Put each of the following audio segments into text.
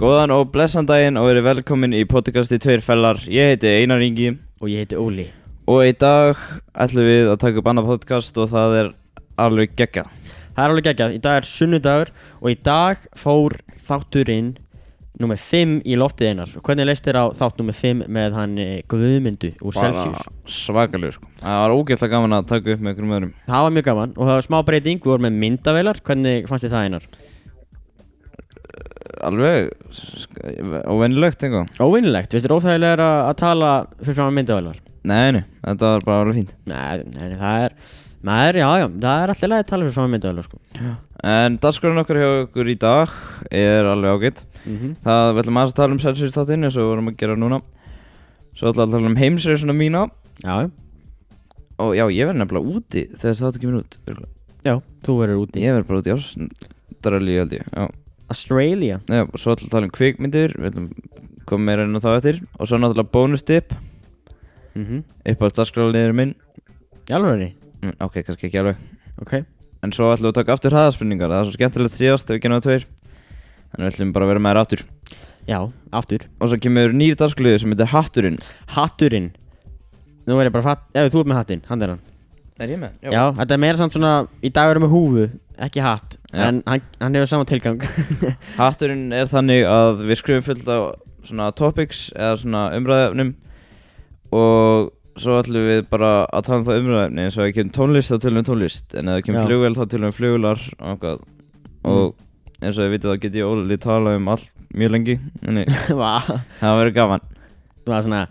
Góðan og blessan daginn og verið velkomin í podcasti Tveir fellar. Ég heiti Einar Ingi Og ég heiti Óli og í dag ætlum við að taka upp annað podcast og það er alveg gegga. Það er alveg geggjað, í dag er sunnudagur og í dag fór þátturinn Númer 5 í loftið einar Og Hvernig leist þér á þátt númer 5 með hann eh, Guðmundu úr Celsius? Svakaljú sko. Það var ógeðslega gaman að taka upp með einhverjum öðrum. Það var mjög gaman og það var smá breyting, við vorum með myndavélar Hvernig fannst þér það einar? Alveg sk- óvenjulegt eitthvað. Óvinnilegt, veist þér óþægilegar að að tala fyrir fram að myndavélar? Nei, nei, þetta var bara alveg fínt. Nei, nei, það er, maður, já, já, það er alltaf leið að tala fyrir fram að myndavélar sko En dagskorinn okkar hjá okkur í dag er alveg ágætt. Mhm. Það við ætlum aðeins að tala um Celsius þáttinn eins og við vorum að gera núna. Svo ætlum við að tala um heimsreisuna mína Já, já. og já, ég verð nefnilega úti þegar þáttu kemur út. örugglega. já, þú verður úti Ég verð bara út í ársdrali held ég Já, Australia já og svo ætlum við að tala um kvikmyndir Við ætlum að koma meira inn á þá eftir Og svo náttúrulega bónustipp mm -hmm. Upp á dagskráliður minn Jálfurri, Mm, Ok, kannski ekki alveg ok En svo ætlum við að taka aftur hraðaspurningar Það er svo skemmtilegt síðast ef við genum það tveir Þannig við ætlum bara að vera með þér aftur Já, aftur Og svo kemur nýr dagskráliður sem heitir Hatturinn Hatturinn Nú er ég bara fatt Ef þú er með hattinn, hann er hann Er ég með? Já, þetta er meira samt svona Í dag erum við húfu, ekki hatt Já. En hann, hann hefur sama tilgang Hatturinn er þannig að við skrifum fullt á svona topics eða svona umræðefnum og svo ætlum við bara að tala um það umræðefni eins og ef það kemur tónlist þá tölum við um tónlist en ef það Já. kemur flugvél þá tölum við um flugvélar og eitthvað og eins og þið vitið þá get ég ólið tala um allt mjög lengi en Vá. það verður gaman Það var svona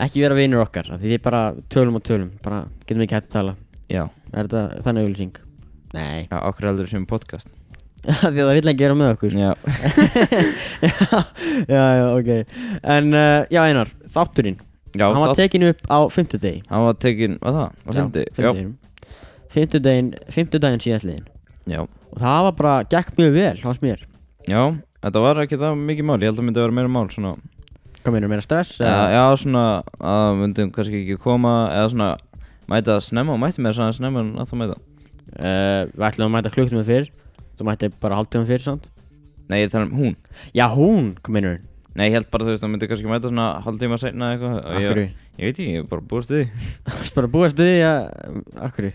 Ekki vera vinur okkar af Því þið bara tölum og tölum Bara getum við ekki hægt að tala Já, Er þetta þannig auðlýsing? Nei já okkur heldur sem podcast Af Því það vill ekki vera með okkur Já, já, já, já, ok En, uh, já Einar, þátturinn já Hann var það- tekin upp á fimmtudegi hann var tekin, var það? Var fyndi? Já, fimmtudeginum Fimmtudegin, fimmtudegin síðastliðin já, og það var bara, gekk mjög vel hans mér já, þetta var ekki það mikið mál, ég held að myndi að vera meira mál svona kom mér meira stress Já, já, svona að við myndum kannski ekki koma eða svona mæta snemma og mætti mér svona snemma en að það mæta Uh, við ætlum að mæta klukknum fyrr þú mætti bara hálftíðum fyrr samt Nei, ég tala um hún já hún kom inn hún Nei, ég held bara þú veist, það myndi kannski mæta svona hálftíma seinna eða eitthvað og akkurru ég, ég veit ekki, ég bara búist við því varst bara að búast við því að akkurru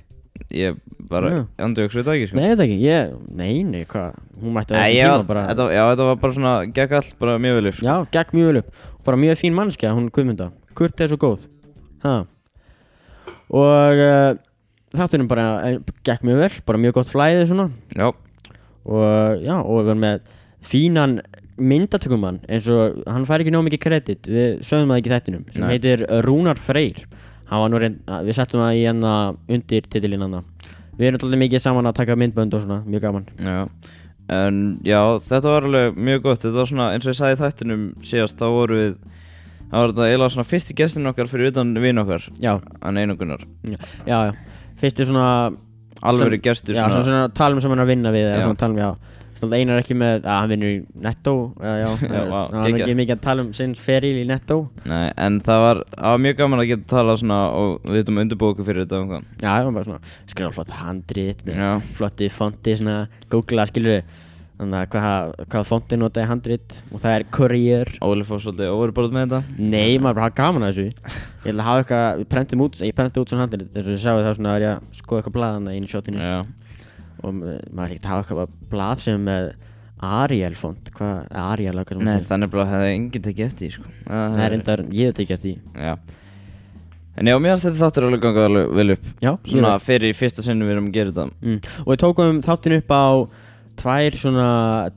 Ég bara, Já. andu ykkur við það ekki, sko nei þetta ekki ég nei nei hvað hún mætti á Nei, þessum ég tíma var, bara þetta, já, þetta var bara svona, gekk allt bara mjög vel upp já gekk mjög vel upp bara mjög fín mannskja hún Guðmunda Kurt er svo góð ha og uh, þáttunum bara eh, gekk mjög vel bara mjög gott flæði svona Já, og já, og við erum með fínan myndatökumann eins og hann fær ekki nóg mikið kredit við sögum það ekki í þættinum sem Nei. heitir Rúnar Freyr hann var nú reynd, að- við settum það í hann undir titilinn hann við erum alltaf mikið saman að taka myndbönd og svona, mjög gaman Já, en já, þetta var alveg mjög gott, þetta var svona, eins og ég sagði í þættinum síðast, þá voru við, þá var þetta eiginlega svona fyrsti gestin okkar fyrir utan vin okkar, já, hann einogunar, já, já, já. fyrst er svona alvöru sem- gestur já, svona, svona talum sem hann er að vinna við eða Já. svona talum, já Svona einar ekki með, að hann vinnur í Netto eða já, Já, vá, hann er geggjað. ekki mikið að tala um sinn feril í Netto Nei, en það var, það var mjög gaman að geta tala svona og við þurfum undirbúið okkur fyrir þetta og eitthvað. Já, það var bara svona skrifalflott handrit með Já. flotti fonti, svona googla, skilur þannig að hvað, hvað fonti notaði handrit og það er courier Óli fór svolítið overbord með þetta. Nei, maður bara hafa gaman að þessu Ég ætla að hafa eitthvað, við prentum út, ég prenti út svona handrit eins og ég sjáu það svona er ég að skoða eitthvað blaðana inn í shotinu Já. og eh, maður líkt að hafa eitthvað blað sem er með Arial font, hvað, Arial eða hvað sem Nei, hún segir. þannig bara hefði enginn tekið eftir, því, sko. Það Það er reyndar, ég veit ekki að því Já. En já, mér finnst þetta þáttur alveg gangað alveg vel upp. Já, mjög Svona vel. fyrir fyrsta sinni við erum að gera þetta. mm. Og við tókum þáttin upp á tvær svona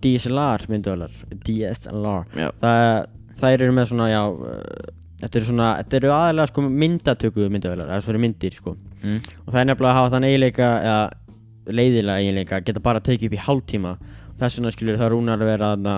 DSLR mynduölar DSLR Já. það, Þær eru með svona, já eh, Þetta eru svona, þetta eru aðalega sko myndatöku mynduölar Það er svo fyrir myndir sko Mm. Og það er nefnilega að hafa þann eiginleika eða leiðilega eiginleika að geta bara að tekið upp í hálftíma og þess vegna skilur það rúnar að vera þarna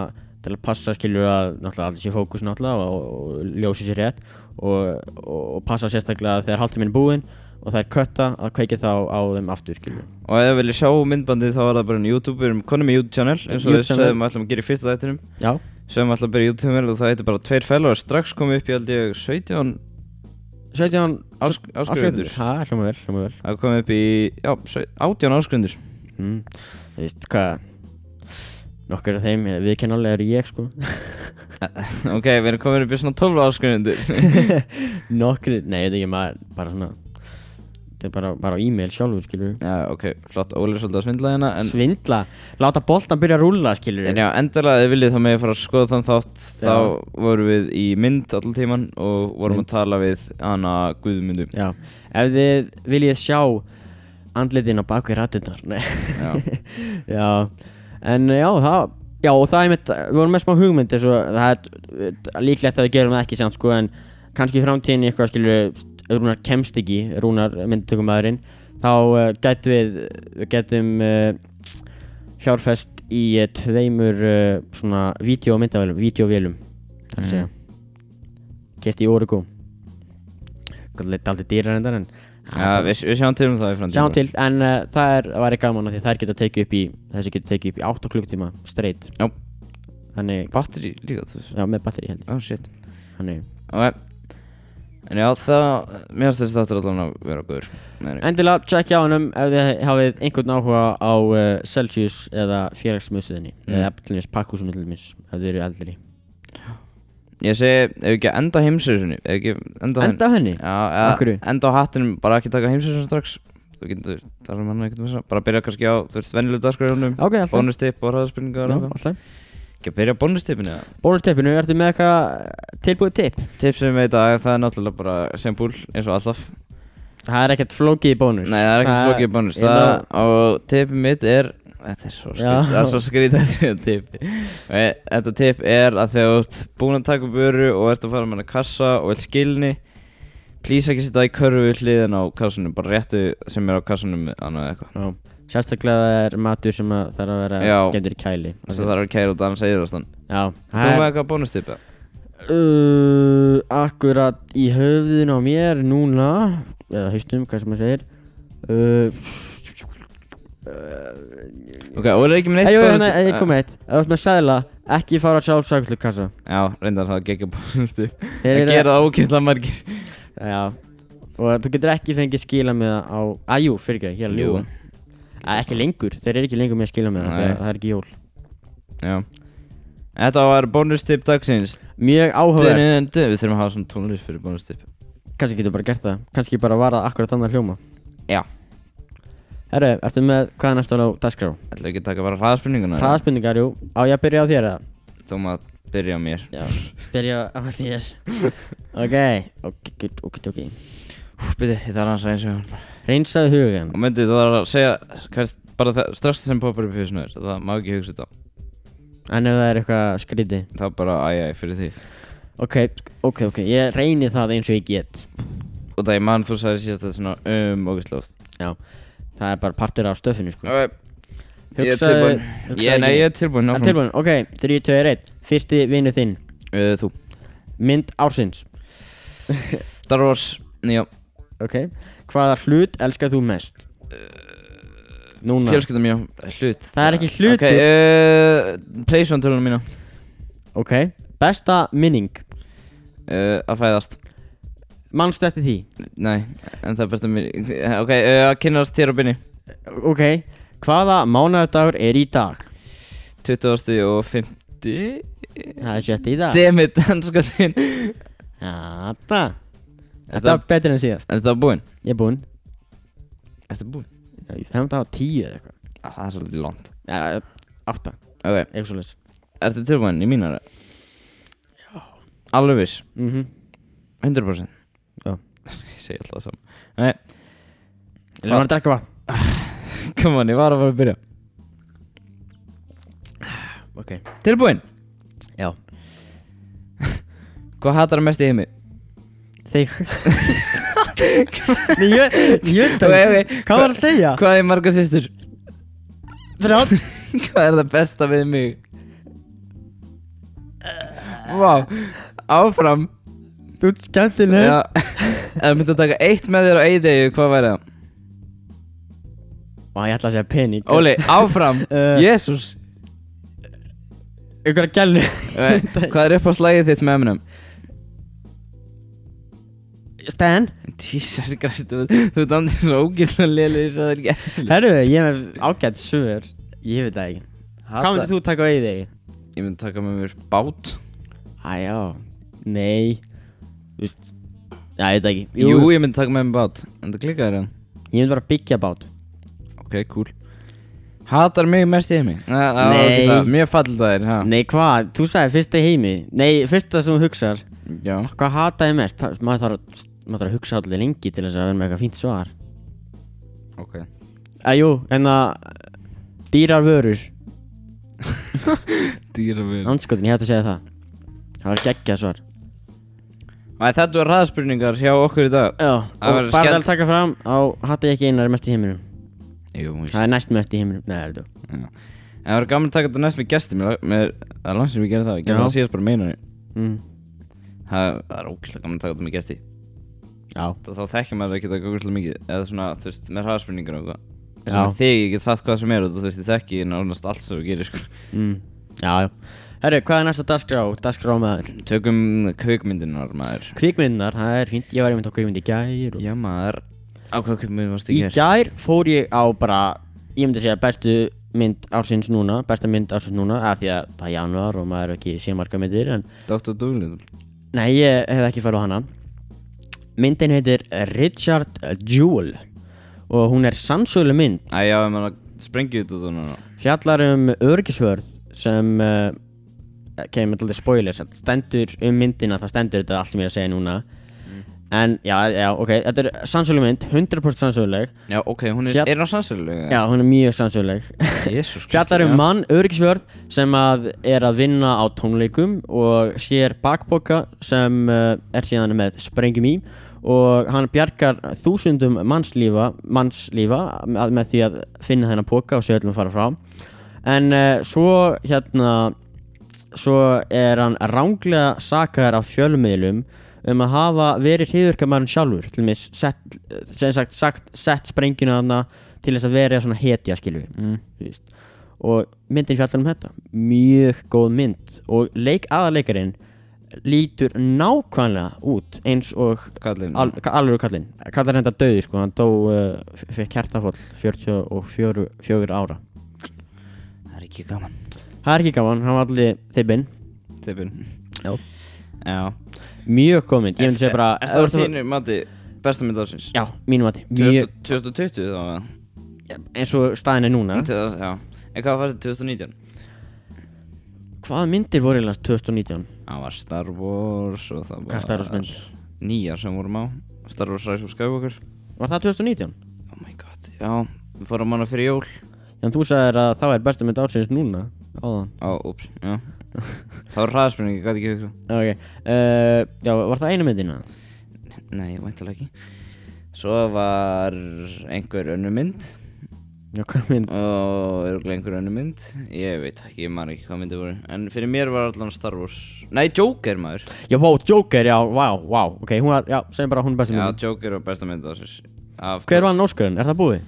til að passa skilur að náttúrulega allir sé í fókus náttúrulega og, og ljósi sér rétt og, og, og passa sérstaklega þegar hálftíminn er búinn og það er kötta að kveikið þá á þeim aftur skilur Og ef þið viljið sjá myndbandið þá var það bara en YouTube, við erum konum í YouTube channel, eins og YouTube við channel. sögum alltaf að gera í fyrsta þættinum. Já, Sögum alltaf að byrja YouTube channel og það heitir bara tveir fælar og strax komið upp í held ég 17 17 ás- Ás- áskrifundur Ha, hljóma vel, hljóma vel Það kom upp í, já, sau- 18 áskrifundur mm. Þú veist hvað Nokkur af þeim, eh, við kennalega eru ég sko Ok, við erum komin upp í svona 12 áskrifundur Nokkur, nei, þetta er ekki maður Bara svona Þetta er bara, bara á e-mail sjálfur, skilur Já, ok, flott, Óli er svolítið að svindla hérna En, Svindla, láta boltan byrja að rúlla, skilur en já, endalega ef viljið þá með ég fara að skoða þann þátt Þá vorum við í mynd allan tíman Og vorum að tala við hana Guðmundu Já, ef þið viljið sjá andlitin á bakvið rættinnar Nei, Já, já En já, það Já, og það er mitt, við vorum með smá hugmynd eins og það er eh, líklegt að við gerum það ekki samt sko en kannski í framtíðin eitthvað skilur Rúnar kemst ekki, Rúnar myndtökumæðurinn þá uh, gætum við við gætum uh, fjárfest í uh, tveimur uh, svona vídeómyndavélum vídeóvélum, þar að segja kefti í Origo Gallið daldið dýrar endar en já við, við sjáum til um það í framtíðin Sjáum til, en uh, það er, væri gaman að því þær geta tekið upp í, þessi geta tekið upp í 8 klukktíma straight Já. Þannig, Batteri líka, þú veist já, með batteri held ég Oh shit Þannig, Ok En já, það, mér finnst þessi þáttur allan að vera góður Nei, nei. endilega, tjekkja á hennum ef þið hafið einhvern áhuga á uh, Celsius eða félagsmiðstöðinni Mm. eða til dæmis pakkúsum til dæmis, ef þið eru eldri Ég segi, ef ekki að enda heimsirsunni Ef ekki enda Enda á henni? Já, eða Af hverju? enda á hattinum, bara ekki taka heimsirsunni strax Þú getur, tala um hann ekkert með þess Bara byrja kannski á, þú veist, venjulega dagskræðunum Ok, alltaf Bónustip og hraðarspurningar og eitthvað. alltaf Ekki að byrja á bónustipinu eða? Bólustippinu, ertu með eitthvað eh, tilbúið tipp? Tipsum við í dag, það er náttúrulega bara sem búl, eins og alltaf Það er ekkert flókið í bónus Nei, það er ekkert flókið bónus ég það, ná- Og tipið mitt er Þetta er svo Já. skrítið, það er svo skrítið þessi tipi Þetta tip er að þegar þú ert búinn að taka upp vöru og ert að fara með hana kassa og vilt skilni Please ekki setja í körfu hliðin á kassanum, bara réttu sem er á kassanum annað eða eitthvað Já. Sérstaklega er matur sem að þarf að vera Já. gemdur í kæli Þess að það er kæra út annars segir það stann Já, Þú með eitthvað bónustip eða? Uh, akkurat í höfðun á mér núna eða haustum, hvað sem maður segir uh, Ok, og er ekki með neitt Ejó, hérna, bónusstipp? ég kom með eitt Ef þú ert með sæðla, ekki fara að sjá sæklukassa Já, reyndar það gekk bónustip Þeir Það eru- gera það ókýrslega margir Já Og þú getur ekki fengið skila með það á Æjú, fyrir ekki, hér að Jú. ljúga Að Ekki lengur, þeir eru ekki lengur með skila með það Nei. þegar Það er ekki jól Já Þetta var bónustip dagsins Mjög áhugað Dun, dun, Við þurfum að hafa svona tónlist fyrir bónustip Kanski getur bara gert það Kanski bara varað akkurat annað hljóma Já. Herru, ertu með hvað er næstu á dagskrá? Ætlaðu ekki að taka bara hraðaspurninguna? Hraðaspurningar, jú Á ég að byrja á þér eða? Þú maður að byrja á mér Já, byrja á þér Ok, ok, ok, ok, ok Úf, byrju, ég þarf hans að eins og hann Reynsaðu hugan Og myndu, þú þarf að segja hvert, bara það strax sem poppar upp í hausinu þér Það má ekki hugsa þetta En ef það er eitthvað skríti Það er bara æj, æj, fyrir því Ok, ok, ok, ég reyni það eins og ég get Og það ég man þú sagði síðast þetta svona um ógeðslega oft Já, það er bara partur af stöfinu sko Ok, Ég er tilbúinn Ég, nei, ég er tilbúinn En nákvæm. tilbúin, ok, 3, 2, 1 Fyrsti vinnu þinn uh, Þú Mynd ársins Star Wars Já, Ok Hvaða hlut elskar þú mest? Núna fjölskyldum já Hlut Það er ekki Ok, hlutur. uh, Playstation tölunum mína Ok Besta minning uh, Að fæðast Manstu eftir því? Nei, en það er besta mér Ok, uh, að kynnast þér og binni Ok Hvaða mánaðardagur er í dag? 20. og 50 Það er sjötti í dag Dammit, hann sko þinn Þetta Þetta Þetta- var betur en síðast Er það búinn? Ég er búinn Ertu búinn? Já, Ég fæmd á tíu eða eitthvað Ah, það er svolítið langt Já, átta Ok, Eitthvað svoleiðis ertu tilbúinn í mínara? Já Alveg viss, Mhm 100% Já. Ég segi alltaf saman Nei, Ég var að drekka vatn come on, ég var að fara að byrja Ok Tilbúinn? Já Hvað hatar mest í heimi? Þig Nei, ég Ég veit Ok, það ok. Hvað var að segja? Hvað er marga sýstur? Þrjá Hvað er það besta við mig? Vá, áfram Þú ert skemmtileg Já, ef þú myndi að taka eitt með þér á eiðegu, hvað væri það? Ó, ég ætla að segja pening Óli, áfram, Eh. jésús Ykkur að gælu Eh, M&M? Hvað er upp á slæðið þitt með Eminem? Stan Jesus Christ, þú þú ert andið svo ógæðlega liðlega þess að það er ekki Herru, ég er með ágætt svör Ég veit það ekki Hvað myndir þú taka á eigið þegi? Ég myndi taka með mér bát Æjá Nei Þú veist Já, ég veit það ekki Jú, ég myndi taka með mér bát En það klikkaður hann Ég myndi bara byggja bát Ok, cool Hatar mig mest í heimi Nei, það var Nei. ekki það. Mjög fall það er, ha Nei, hvað? Þú sagði fyrsta í heimi Nei, fyrsta sem þú hugsar Já Hvað hataði mest? Það- Maður þarf að- maður þarf að hugsa allir lengi til þess að vera með eitthvað fínt svar Ok Eh, Jú, en að Dýrar vörur Dýra við Anskotin, Mm. ég hætti að segja það Það var geggjað svar Þetta var ræðspurningar hjá okkur í dag Já, Það og verður bara skemmt- að taka fram Á hata ég ekki einar mest í heiminum Jú, múist Það er næst mest í heiminum Nei, það er þetta En það var gaman að taka þetta næst með gesti Mér mér- það er langt sem ég gerði það Ég gerði Já. það síðast bara meina mm. Það það er ógæðlega gaman að taka þetta með gesti Já Þá, þá þekkja maður ekki það góðslega mikið Eða svona, þú veist, með hraðspurningar og eitthvað Þess Já. vegna þig, ég get sagt hvað sem er og Þú veist, ég þekki nánast allt sem þú gerir sko. mm. Já, já Herru, hvað er næsta dagskrá? Dagskrá maður Tökum kveikmyndinar, maður Kvikmyndinar, það er fínt Ég var einmitt á kvikmynd í gær og... Já, maður Á hvað kveikmynd varst Í í gær? gær fór ég á bara Ég myndi segja bestu mynd ársins núna Besta mynd ársins núna Af því að það er januar og maður er ekki sé marga myndir En Dr. Doolittle Nei, ég hef ekki farið á hana Myndin heitir Richard Jewell og hún er sannsölu mynd Æ, já, ef maður sprengið út úr það núna fjallar um örgisvörð sem uh, kemur með alltaf spoilers það stendur um myndina, það stendur þetta allt sem ég er að segja núna en já, já, ok, þetta er sannsölu mynd 100% sannsöluleg, Já, ok, hún er, Fjall- er hún sannsölulega? já, hún er mjög sannsöluleg Jésús Fjallar um mann, öryggisvörð, sem að er að vinna á tónleikum og sér bakpoka sem uh, er síðan með sprengjum í og hann bjargar þúsundum mannslífa, mannslífa að, með því að finna þennan poka og sér öllum að fara frá en uh, svo hérna svo er hann ránglega sakaðar af fjölmiðlum um að hafa verið hriðurkamærin sjálfur til með sett, sem sagt, sagt sett sprengjuna þarna til þess að vera svona hetja skilur mm. og myndin fjallar um þetta mjög góð mynd og leik aðarleikarinn lítur nákvæmlega út eins og Kallinn al, alveg kallinn kallar enda döði sko, hann dó uh, fyrir kertafól 44 fjögur ára Það er ekki gaman það er ekki gaman, hann var allir þibbinn Tippin Já. Já Mjög góð mynd, ég myndi segja bara Er það ef þú- þínu mati besta mynd ársins? Já, mínum mati Mjög, 2020 þá eða? eins og staðin er núna Til þess- Já En hvað fannst þið 2019? Hvaða myndir voru eiginlega 2019? Það var Star Wars og það var Hvað Star Wars mynd? Nýjar sem vorum á Star Wars Rise of Skywalker Var það 2019? Oh my god Já Við fórum hana fyrir jól Já, en þú sagðir að það er besta mynd ársins núna Áðan Á, úps Já Það var hraðaspurning Ég gæti ekki hugsa Ok, uh, já, var það einu myndina? Nei, væntalega ekki Svo var einhver önnu mynd Já, hvað mynd? og örgulega einhver önnu mynd ég veit ekki, ég man ekki hvað myndi voru en fyrir mér var allan Star Wars nei, Joker maður Já, vá, Joker, já, vá, vá Ok, hún var, já, segjum bara að hún er besta já, myndin Joker var besta mynd ásins af Hver var hann Óskarinn? Er það búið?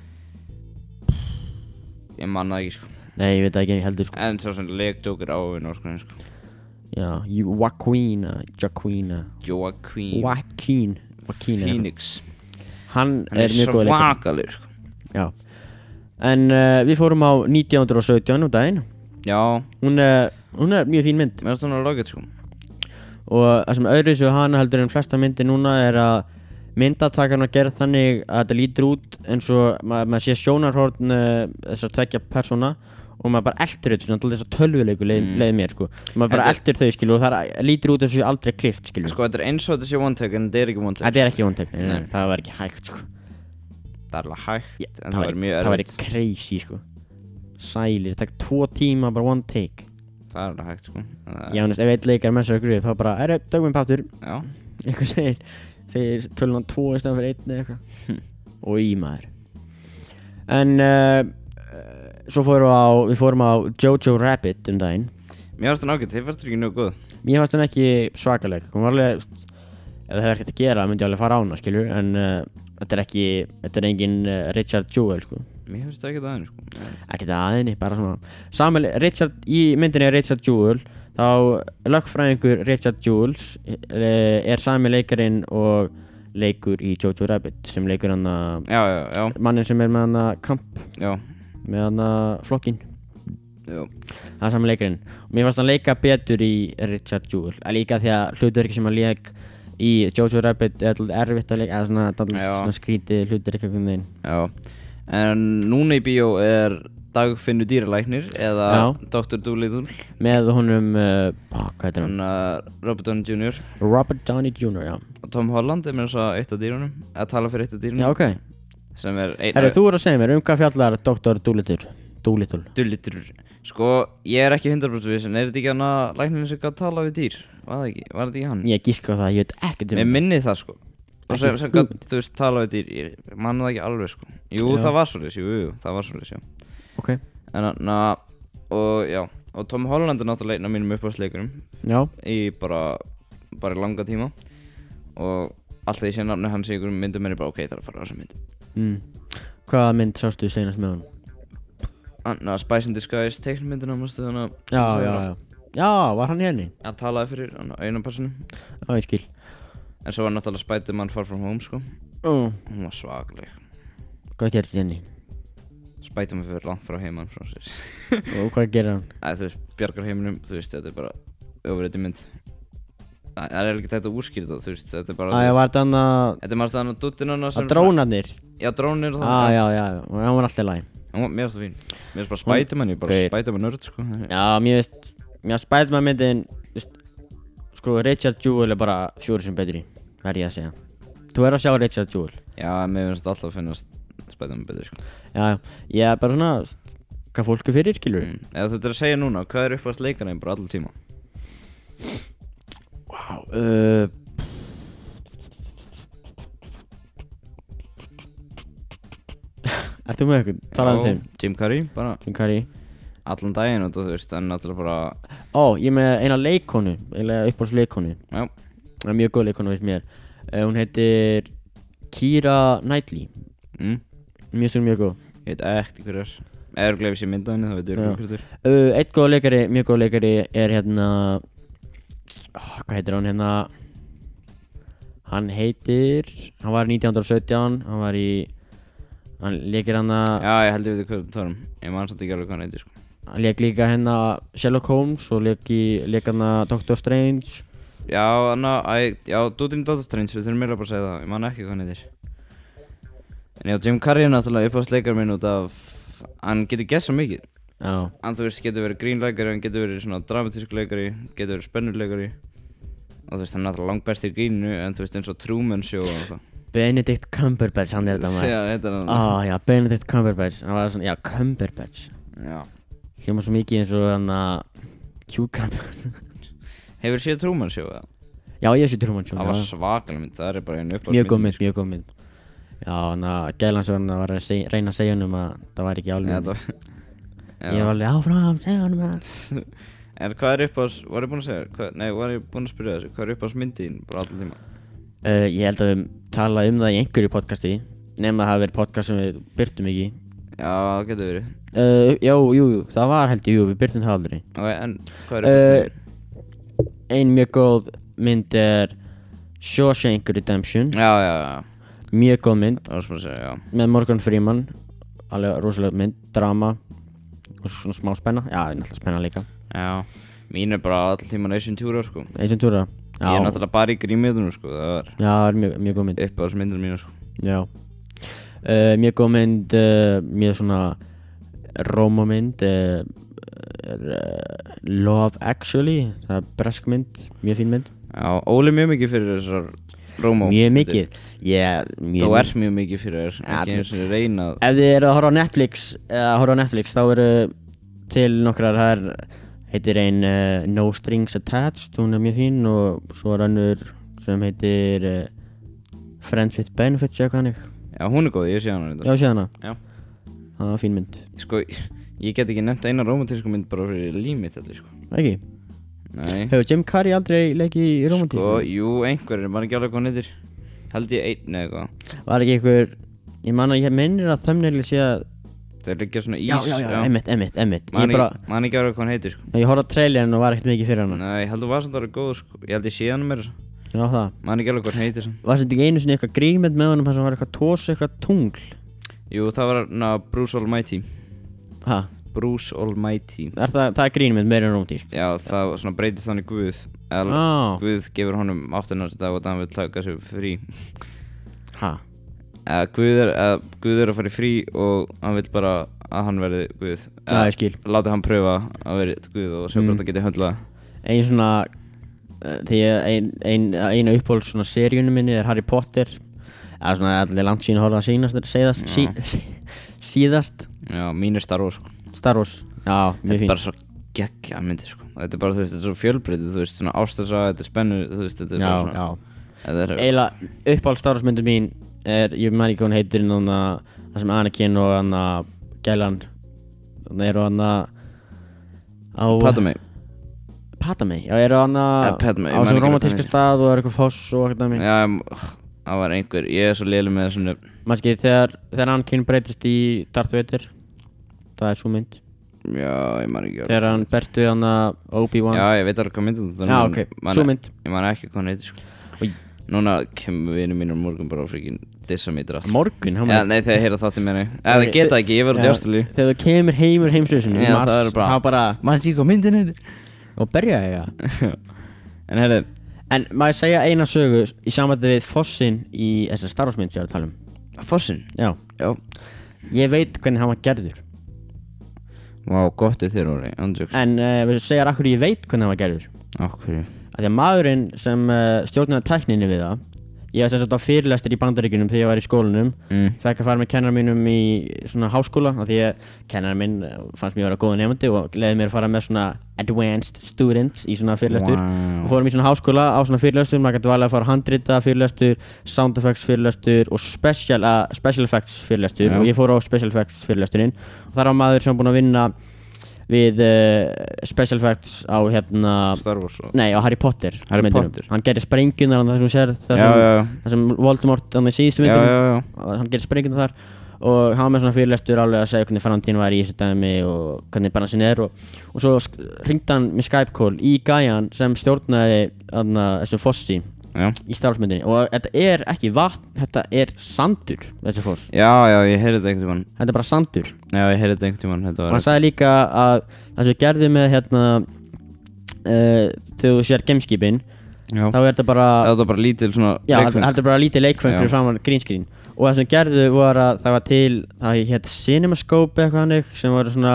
ég man það ekki sko Nei, ég veit það ekki ég heldur sko en svo sem leik Joker á við norskunni sko Já, Ju- Joaquina, Joaquina Joaquin Joaquin Joaquin er hann. Phoenix Hann hann er er mjög góð leikur svakalur sko Já En uh, við fórum á 1917 um daginn já hún er, hún er mjög fín mynd mér finnst hún að logið sko og það sem öðru sem hana heldur en flesta myndi núna er að myndatakarna gerð þannig að þetta lítur út eins og ma maður sé sjónarhorn uh, þess að tvekja persóna og maður bara eldur þetta svona til þess að tölvuleiku leið, Mm. leið mér sko maður bara eldur þau skilur og það er- lítur út eins og sé aldrei klift skilur sko þetta er eins og þetta sé one take en þetta er ekki one take þetta er ekki vontekni, nei, nei, það var ekki hægt sko það er alveg hægt en það, það er mjög það væri erfitt crazy sko sælir, það er tvo tíma bara one take það er alveg hægt sko En það- ég ánast ef einn leikar með sér að gruð þá bara, er það dögum páttur já eitthvað segir segir tölunan 2 í stæðan fyrir 1 eða eitthvað og í maður en uh, uh, svo fórum við á við fórum á Jojo Rabbit um daginn mér finnst hún ágætt þið fannst hún ekki njög góð mér fannst hún ekki svakaleg hún var alveg ef það hefur ekkert að gera myndi ég alveg fara á hana skilur en uh, þetta er ekki þetta er engin uh, Richard Jewell sko mér finnst það ekki það sko Nei. ekki það aðinni, bara svona Samuel, Richard, í myndinni er Richard Jewell þá lögfræðingur Richard Jewells eh, er sami leikarinn og leikur í Jojo Rabbit sem leikur hann að já, já, já, mannin sem er með hann að kamp já, með hann að flokkin já. það er saman leikurinn og mér fannst hann leika betur í Richard Jewell að líka því að hlutverki sem hann leik í Jojo Rabbit er alltaf erfitt að leika eða svona, dálítið Já. svona skrítið hlutverki um þeim Já, en núna í bíó er Dagfinnu dýralæknir eða Já. Dr. Doolittle með honum uh, hvað heitir hann? hann að Robert Downey Jr. Robert Downey Jr. já, og Tom Holland er með þess að eitt af dýrunum að tala fyrir eitt af dýrunum já ok sem er einn Herru, þú er að segja mér um hvað fjallar Dr. Doolittle Doolittle Doolittle Sko, ég er ekki 100% viss en er þetta ekki hann að læknirinn sem gætt tala við dýr? Var það ekki? Var þetta ekki hann? ég gíska á það, ég veit ekkert um Mér minni það sko og sem, Ekki sem gætt, þú veist, tala við dýr ég manna það ekki alveg sko Jú, Já. það var svolítið, jú, jú, það var svolítið, já ok, En hann og já og Tom Holland er náttúrulega einn af mínum uppáðsleikurum já í bara, bara í langa tíma og alltaf ég sé nafni hans í einhverjum myndum er ég bara ok, það er að fara á þessa mynd Mm. Hvaða mynd sástu senast með honum? Anna, Spice and Disguise, teiknmyndina mástu þannig að sem Já, sagði já, hann já. Já, var hann í henni? að- hann talaði fyrir hann einu personu Já, ég skil. en svo var náttúrulega Spiderman Far From Home sko Uh. hún var svagleg Hvað gerst í henni? Spiderman fyrir langt frá heimann frá sér Og hvað gerir hann? Æ, þú veist, bjargar heiminum, þú veist, þetta er bara öfrið mynd Æ, það er ekki þetta úrskýrða, þú veist, þetta er bara Æ, var þetta hann að Þetta er maður staðan á duttinana að drónarnir? Já, drónir og Á, það já, já, já, og hann var alltaf læg. Hún var- Mér finnst það fín Mér finnst bara Spiderman, ég er bara Gaur. Spiderman nörd sko Já, mér veist, mér að Spiderman myndin, veist, sko, Richard Jewell er bara fjóri sem betri, verð ég að segja. Þú er að sjá Richard Jewell. Já, mér finnst alltaf að finnast Spiderman betur sko Já, já, ég er bara svona, veist, hvað fólku fyrir, skilur? mm. Eða þú ert að segja núna, hvað er uppáðast leikarinn bara allur tíma? Wow. Uh, Ertu með eitthvað? Talaðu um Já, þeim Jim Carrey, bara Jim Carrey allan daginn og þú veist, en náttúrulega bara Ó, ég er með eina leikonu Eða uppáls leikonu Já, Það er mjög góð leikonu veist mér uh, Hún heitir Kira Knightley mm. Mjög svo mjög góð ég veit ekkert hver er Eða gleif sér myndaðinni, þá veit ég Já. hver þetta er uh, Eitt góð leikari, mjög góð leikari er hérna oh, Hvað heitir hann hérna Hann heitir Hann var 1917 Hann var í Hann leikir hann að Já, ég held ég veit hvað það er Ég man samt ekki alveg hvað hann heitir sko Hann leik líka hérna Sherlock Holmes og leik, í, leik hérna Doctor Strange Já, anna, æ, já, Dúdin Dóttastræns, við þurfum meira bara að segja það Ég man ekki hvað hann heitir En já, Jim Carrey er náttúrulega uppáðast leikar minn út af Hann getur gett svo mikið Já, hann þú veist getur verið grínleikari, hann getur verið svona dramatísk leikari, getur verið spennuleikari og þú veist hann er náttúrulega langbæst í grínu en þú veist eins og Truman Show og það Benedict Cumberbatch, hann er þetta maður Ah. Segja, þetta er hann Á, já, Benedict Cumberbatch, hann var svona, já, Cumberbatch Já. Hljóma svo mikið eins og hann að Cucumber Hefur séð Truman Show eða? Já, ég sé Truman Show Það var já. svakalega mynd, það er bara einu uppáhalds Mjög góð mynd, mjög góð mynd Já, hann að gælan svo hann að var að seg, reyna að segja hann um að það var ekki Já, álum það Ég var Já. alveg áfram, segja hann um að En hvað er uppáhalds, var ég búinn að segja, hvað, nei, var ég búinn að spyrja þessu, hvað er uppáhalds myndin bara alltaf tíma? Uh, ég held að við tala um það í einhverju podcasti Nefn að það hafi verið podcast sem við byrtum ekki Já, það getur verið. Uh, jú, jú, jú, það var held ég, jú, við byrjum það aldrei Ok, en hvað er uppáhalds uh, myndin? Ein mjög góð mynd er Shawshank Redemption Já, já, já, Mjög góð mynd það var sem að segja, já. með Morgan Freeman Alveg rosalega mynd, drama Og svona smá spenna, já, það er náttúrulega spenna líka Já, mín er bara alltaf tíma Nation Tour, sko. Eins og túra Ég er Já, já, náttúrulega Eh. bara í grímiðunum sko, það var það er mjög, mjög góð mynd upp á þessum myndunum mínu sko Já uh, Mjög góð mynd, uh, mjög svona Rómamynd uh, uh, Love Actually Það er bresk mynd, mjög fín mynd Já, Óli er mjög mikið fyrir þessar Rómó Mjög mikið Ég, mjög Þú mikið. ert mjög mikið fyrir þér, Ja, ekki eins og reyna að- Ef þið eru að horfa á Netflix eða horfa á Netflix þá eru til nokkrar það er, heitir ein uh, No Strings Attached hún er mjög fín og svo er önnur sem heitir uh, Friends with Benefits eða hvað hannig Já, hún er góð, ég sé hana Já, reynda séð hana Já. Það var fín mynd Sko, ég get ekki nefnt eina rómantísku mynd bara fyrir límit þetta sko Ekki Nei Hefur Jim Carrey aldrei leikið í romantík? Sko, jú, einhverjir, maður ekki alveg hvað hann heitir Held ég einn eða eitthvað Var ekki einhver Ég man að ég minnir að thumbnaili sé að Þeir liggja svona ís Emmitt, Emmitt, Emmitt Ég Maður bara ekki- maður ekki alveg hvað hann heitir sko Ég horfði á trailerinn og var ekkert mikið fyrir hana Nei, ég held þú var samt að það góð sko Ég held ég sé hann mér Já það maður ekki alveg hvað hann heitir sem. Var þetta ekki einu sinni eitthvað grímynd með honum þar sem var eitthvað tós eitthvað tungl Jú, það var na, Bruce Almighty Ha, Bruce Almighty er það, það er grínmynd meira en rómdís Já, það svona breytist þannig Guð eða Á, Guð gefur honum áttunar dag og þannig vil taka sér frí ha eða Guð er, eða Guð er að fara í frí og hann vil bara að hann verði Guð Já, ég skil. Láti hann pröfa að verði Guð og sjá Mm. hvort hann geti höndla Ein svona eh, Því ég- ein, ein, eina uppáhalds svona seríunum minni er Harry Potter Eða svona allir langt sín að horfa að sýnast Síðast, sí, síðast Já, mín er starf sko. Star Wars Já, Þetta mjög er fín bara svo geggja myndi sko. Þetta er bara, þú veist, þetta er svo fjölbreytið Þú veist, svona ástarsaga, þetta er spennu Þú veist, þetta er Já, bara svona já Þetta er, eiginlega uppáhald Star Wars myndu mín er, ég man ekki hvað hún heitir en þannig að það sem Anakin og hann að Gælan þannig eru hann að á Padme Padme, já eru hann að Eh, Padme, ég á man sem ekki hvað romantíska hún stað og er eitthvað foss og eitthvað dæmi Já, em, það var einhver Ég er svo lélu með þessum nöfn. maður skil þegar, þegar Anakin breytist í Darth Vader það er svo mynd Já, ég man ekki þegar hann berst við hann að Obi-Wan Já, ég veit alveg hvað myndin þú Já, ok, sú mynd. Ég man ekki hvað hann heitir sko. Og- Núna kemur vinur mínur á morgun bara á fríkin Dissa mig drátt morgun, hann Já, nei, þegar heyra þátti mér Eða það geta ekki, ég verður til Ástralíu þegar þú kemur heimur heimsveysinu Já, það eru bara- bara Man sé hvað myndin heitir og berja ég En herri, En maður segja eina sögu í samvættið við Fossin í þessar Star Wars mynd sem ég var að tala um Fossin Já, Já ég veit hvernig hann var gerður Vá, gott er þér orði, andjóks En uh, við segjar akkur ég veit hvernig hann var gerður Okkur Af Því að maðurinn sem uh, stjórnaði tækninni við það Ég var sem sagt á fyrirlestir í bandaríkunum þegar ég var í skólanum Mm. Fekk að fara með kennar mínum í svona háskóla af Því að kennar minn eh, fannst mér að vera góða nefndi Og leiði mér að fara með svona advanced students í svona fyrirlestur Vá. Við fórum í svona háskóla á svona fyrirlestur Maður gæti valið að fara handrita fyrirlestur, sound effects fyrirlestur Og special, uh, special effects fyrirlestur Já. Og ég fór á special effects fyrirlesturinn Og þar var maður sem var búinn að vinna við uh, special effects á hérna Star Wars sko. og Nei, á Harry Potter Harry myndunum. Potter. Hann gerir sprengjuna þar sem hún sér Já, þar sem, já, já. þar sem Voldemort þannig í síðustu Já, myndunum já, já Hann gerir sprengjuna þar Og hann var með svona fyrirlestur alveg að segja hvernig framtíðin var í þessu dæmi og hvernig bara sinni er og, og svo ringd hann með Skype call í gæjan sem stjórnaði anna, þessu fossi Já, í starfsmyndinni og þetta er ekki vatn, þetta er sandur þessi foss, já, já ég heyrði þetta einhvern tímann þetta er bara sandur Já, ég heyrði þetta einhvern tímann Þetta og hann var sagði líka að það sem við gerðum með hérna uh, þegar þú sér gameskipin Já þá er þetta bara Þetta var bara lítil svona Já, leikföng. leikfeng. heldur bara lítið leikfeng Já. fyrir framann grínskrín Og það sem gerðu var að það var til, það hétt Cinemascope eitthvað hannig sem voru svona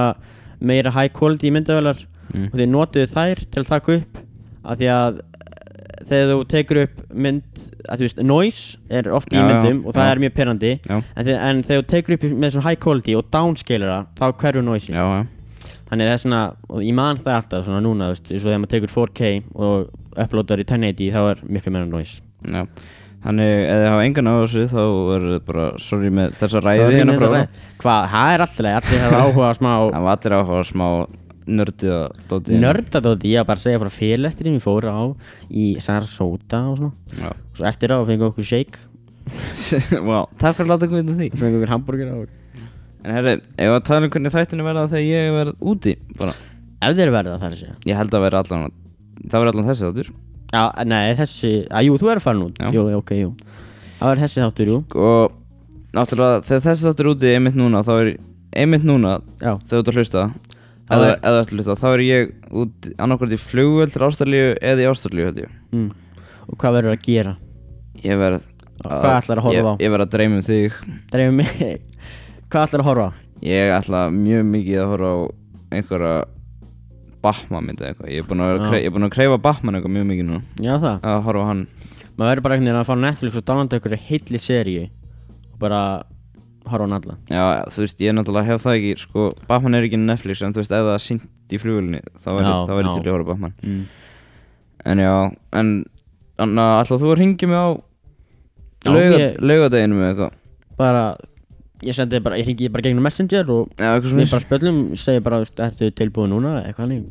meira high quality myndavelar Mm. og þeir notuðu þær til að taka upp af því að eh, þegar þú tekur upp mynd, að þú veist, noise er oft í Já, já, myndum og það já. er mjög perandi Já. en, þe- en þegar þú tekur upp með svona high quality og downscaler það, þá hverju noise Já, já Þannig það er svona, og ég man það alltaf svona núna, þú veist, eins og þegar maður tekur 4K og uploadar í 1080 þá er miklu meira noise Já, þannig ef þið hafa engan á þessu þá er þetta bara sorry með þessa ræði Sorry, hérna Nils, frá að- Hvað, það er alltaf, allir hafa áhuga á smá Það var allir áhuga á smá nördiða dótið nördadóti, ég var bara að segja frá fyrirlesturinn við fórum á í Sarasota og svona Já, Svo eftir á fengum við okkur shake, wow. takk fyrir að láta komið til því fengum við okkur hamburger á En herri, ef að tala um hvernig þættinu verða þegar ég verð úti bara. Ef þeir verða það er að segja Ég held að verða allan Það verða allan þessi þáttur Já, nei, þessi, að jú, þú er að fara nú Já. Jú, ok, jú Það var þessi þáttur, jú Og náttúrulega þegar þessi þáttur er úti einmitt núna þá er einmitt núna Já, þegar þú ert að hlusta Þá eða, er- eða ert að hlusta, þá er ég út annarkvæmt í flugvöld til Ástralíu eða í Ástralíu held ég mm. og hvað verður að gera? Ég verð Hvað ætlarðu að horfa ég, á? Ég verð að dreyma um þig Dreifum mig Hvað ætlar að horfa? á? Ég ætla mjög mikið að horfa á einhverja Batman myndi eða eitthvað Ég er búinn að, Já. kre, ég er búin að kreyfa Batman eitthvað mjög mikið núna Já, það Að horfa á hann Maður verður bara einhvern veginn að fara á Netflix og dálanda ykkur heilli seríu og bara horfa á hann alla Já, þú veist, ég náttúrulega hef það ekki Sko, Batman er ekki Netflix En þú veist, ef það er sýnt í flugvölinni Þá væri Já, þá væri já. til að horfa á Batman mm. En já, en Þannig að ætla þú að ringja mig á Já, lauga, ég- Laugadeginu með eitthvað bara ég sendi bara, ég ringi bara gegnum messenger og Já, eitthvað við svona bara spjöllum, segi bara, veist, ertu tilbúið núna eða eitthvað hannig,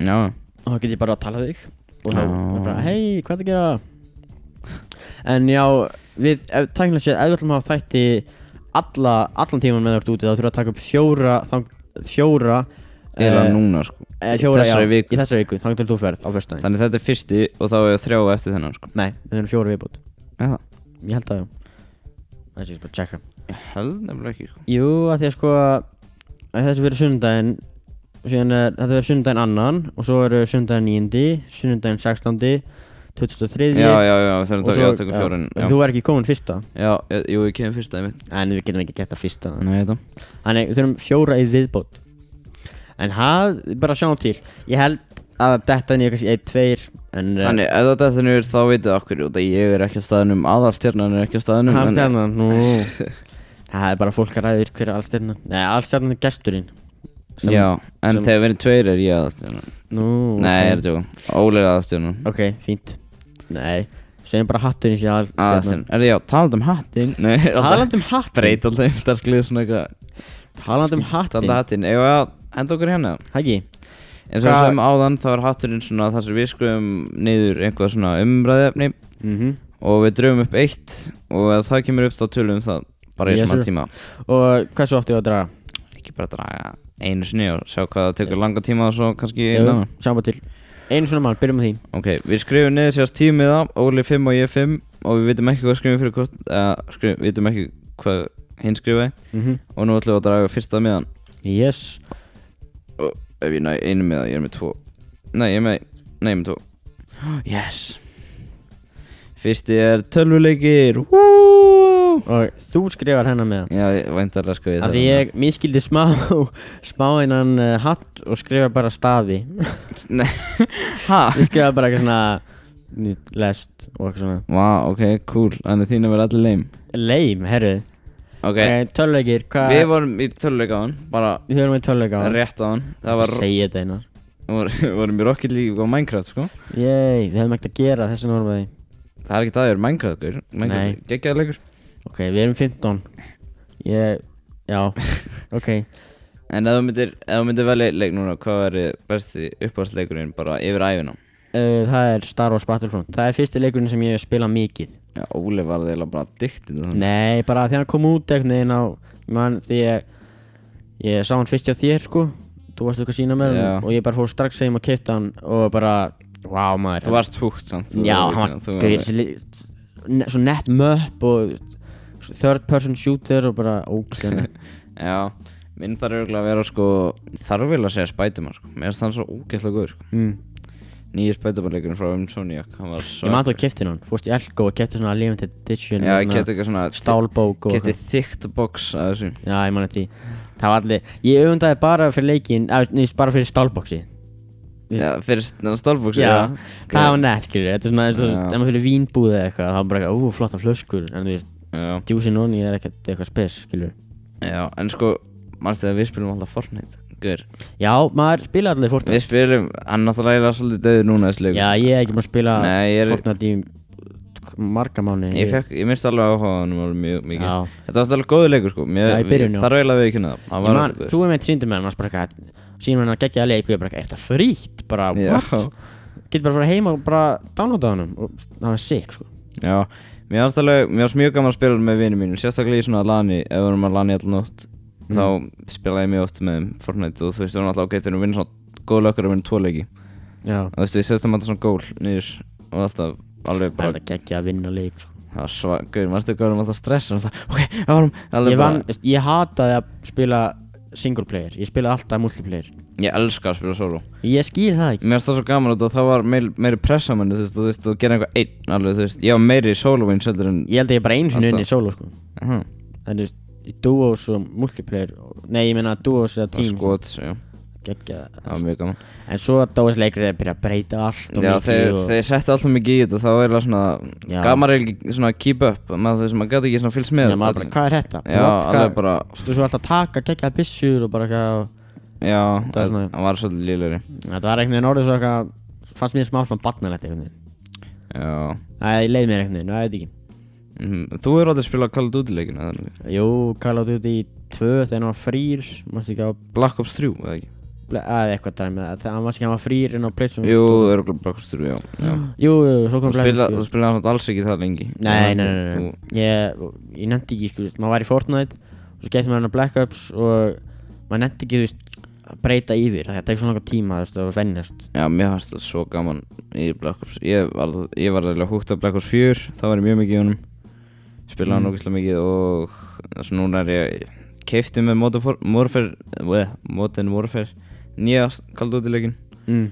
Já, og þá get ég bara að tala við þig og þá Já. er bara, hei, hvað er að gera en já, við tæknilega séð, ef við ætlum að hafa þætti alla, allan tíman með þú ert úti, þá þurfum við að taka upp fjóra þang, fjóra Eða Eh, núna sko Eh, Í fjóra, þessari já, viku. Í þessari viku, þannig til þú ferð á föstudaginn Þannig þetta er fyrsti og þá er þrjá eftir þennan sko Nei, þetta eru fjóra viðbútt Með það? Ég held að já Það sé ég bara að checka Ég held nefnilega ekki sko Jú, að því að sko að þessi verður sundaginn síðan er, þetta verður sundaginn annan og svo eru sundaginn 9, sundaginn 16 23 Já, já, já, þegar og það svo- er tökum fjórin en Já, Þú er ekki komin fyrsta já, ég- jú, ég kemur fyrsta í mitt En við getum ekki gett það fyrsta Nei, þetta Mm. Þannig við þurfum fjóra í viðbót En það, bara sjáum til Ég held að þetta niður kannski 1, 2 En eh, Þannig, ef þetta er þennur þá veitum við okkur út að ég er ekki á staðinum, aðalstjarnan er ekki á staðinum Hann en- stjarnan, nú Það er bara fólk að ræða yfir hverja allstjarnan Nei, allstjarnan er gesturinn sem- Já, en sem- þegar við erum tveir er ég aðalstjarnan Nú Nei, ok. ég er að tjóka, Óli er aðalstjarnan Ok, fínt Nei, segjum bara hatturinn sé allstjarnan Aðalstjarnan, er það já, talandi um hattinn Nei, alltaf Talandi um hattinn breyt alltaf yfirtarsklið svona eitthvað Talandi Talandi um hattinn um hattinn, eigum við að henda okkur hérna Hægi eins og Hvað- sem áðan þá er hatturinn svona þar sem við skrifum niður einhvað svona umræðefni Mhm. og við dröfum upp eitt og ef það kemur upp þá tölum við um það bara í Yes, smá sir. tíma Og hversu oft ég var að draga? ekki bara draga einu sinni og sjá hvað það tekur langa tíma og svo kannski Jú, einu annan Sjáum bara til Einu svona mál, byrjum á því ok, við skrifum niður sérst tímið á Óli 5 og ég 5 og við vitum ekki hvað skrifum fyrir hvort eða skrifum, við vitum ekki hvað hinn skrifaði Mhm. og nú ætlum við að draga fyrsta miðan Yes og ef ég næ einu miða, ég er með tvo nei, ég er með, nei, ég er með tvo Oh, Yes Fyrsti er tölvuleikir Woo! Og þú skrifar hennar með það Já, ég væntar að sko ég Af því ég miskildi smá smá innan uh, hatt og skrifa bara staði Nei, ha? Ég skrifa bara eitthvað svona ný- lest og eitthvað svona Vá, ok, cool, þannig þínu verið allir leim leim, herru Ok, okay. Töluleikir, hvað við vorum í tölvuleika á hann Bara Við höfum við töluleika á rétt á hann Það var, Segja þetta einar við vorum í Rocket League og Minecraft, sko Yey, við höfum ekkert að gera þess að norma því Það er ekki það, við erum Minecraft, gur Nei. Minecraft, geggjaður leikur Ok, við erum 15 Ég, já, ok En ef þú myndir, ef þú myndir velja einn leik núna Hvað væri besti uppáðsleikurinn bara yfir æfina? uh, Það er Star Wars Battlefront Það er fyrsti leikurinn sem ég hef spilað mikið Já, Óli var það eiginlega bara diktið Nei, bara því hann kom út einhvern veginn á mann því ég, ég sá hann fyrst hjá þér sko þú varst eitthvað að sína með Já. hann og ég bara fór strax heim og kipta hann og bara wow maður Þú varst fúkt samt þú já, verður hann ekki- þú var gaur, verður- þessi li- ne- svo nett möpp og third person shooter og bara ógæðan Já, minn þarf örgulega að vera sko þarf vel að segja Spiderman sko mér finnst hann svo ógeðslega góður sko mm. nýju Spiderman leikurinn frá Insomniac hann var svo ég maður þú að kipta hann fórst í Elko og kipta svona limited edition Já, ég svona geti eitthvað svona stálbók og geti þykkt box að þessu já, ég man eftir því. það var allir ég öfundaði bara fyrir leikin að, neins, bara fyrir stálbóksi Vist- Já, fyrst þannig stálbox Já, það var nett, skilur Þetta er svona, eins og þú Já. veist, ef maður fyrir vínbúð eða eitthvað þá er bara eitthvað, ú, flotta flöskur En þú veist, Já, djúsi nonni er ekkert eitthvað spes, skilur já, en sko mannstu þegar við spilum alltaf Fortnite Guður, Já, maður spila allir Fortnite við spilum hann náttúrulega eiginlega svolítið döður núna þessu leikur Já, ég er ekki búinn að spila Nei, ég er- Fortnite í marga mánu Ég, fekk, ég misti alveg áhugaðanum alveg mjög mikið Já. Þetta var alveg góður leikur sko Mér, Já, í byrjun, já. Þarf eiginlega við ekki neða Það var man, Þú er með síndum með hann, maður bara eitthvað Sýnum hann að gegja að leik og ég bara, eitthvað, er þetta frítt? Bara, Já. what? Getur bara að fara heima og bara downloada hann og það var sick, sko Já, mér varst alveg, mér varst mjög gaman að spila með vinið mínu, sérstaklega í svona lani, ef við erum að lani alltaf nótt, Mm. þá spilaði ég mjög oft með þeim Fortnite og þú veist, við erum alltaf ágættir og vinna svona góð lökkur að vinna tvo leiki. Já Og þú veist, við setjum alltaf svona gól niður og alltaf alveg Það er bara, að gegja að vinna leik, sko það var svakur, mannstu hvað erum alltaf stressa, alltaf, ok, það varum, Ég alveg vann, bara, veist, ég hataði að spila single player Ég spilaði alltaf multiplayer ég elska að spila solo. Ég skýr það ekki Mér varst það svo gaman út og það var meir, meiri pressa á manni, þú veist, og þú veist, þú gerir eitthvað einn alveg, þú veist, ég var meiri solo wins heldur en, Ég held að ég bara einu sinni Alltaf. unni solo sko Mhm. Þannig í duos og multiplayer og- Nei, ég meina duos eða og team sko. skot, já, það var mjög gaman. En svo að duos leikrið er að byrja að breyta allt og Já, mikið þeir, og... þeir settu alltaf mikið í þetta þá er það svona, Já. gamar er ekki svona keep up, maður þú veist, maður gæti ekki svona fylgst með Já, maður bara, öllu. hvað er þetta? Já, What, alveg bara, Þú svo alltaf taka, gegja byssur og bara eitthvað og- já, Það er það svona- var svolítið lílari Þetta var einhvern veginn orðið svo eitthvað Fannst mér smá svona barnalegt einhvern veginn Já, Nei, ég leið mér einhvern veginn, það veit ekki Mhm. þú er átt að spila Call of Duty leikina þannig. Jú, Call of Duty 2 þegar hann var frýr Mástu ekki á, Black Ops 3, eða ekki? eða eitthvað dæmi Þegar hann var ekki hann var frýr inn á Playstation Jú, það er okkur Black Ops 3, já, já. Jú, jú, svo Þú kom Black Ops spila, 4. þú spila samt alls ekki það lengi Nei, nei, nei, nei, Þú- nei. Ég, ég nefndi ekki, sko, þú veist, maður var í Fortnite og svo gæti maður hann að Black Ops og maður nefndi ekki, þú veist, að breyta yfir það tekur svo langa tíma þú veist, að vennjast Já, mér fannst það svo gaman í Black Ops Ég var, ég var alveg húgt af Black Ops 4 Það var ég mjög mikið í honum Spilaði hann Mm. ógeðslega mikið og þess að núna er ég keifti með Modern Warfare- Warfare bleh, Modern Warfare nýja kaldótilegin mm.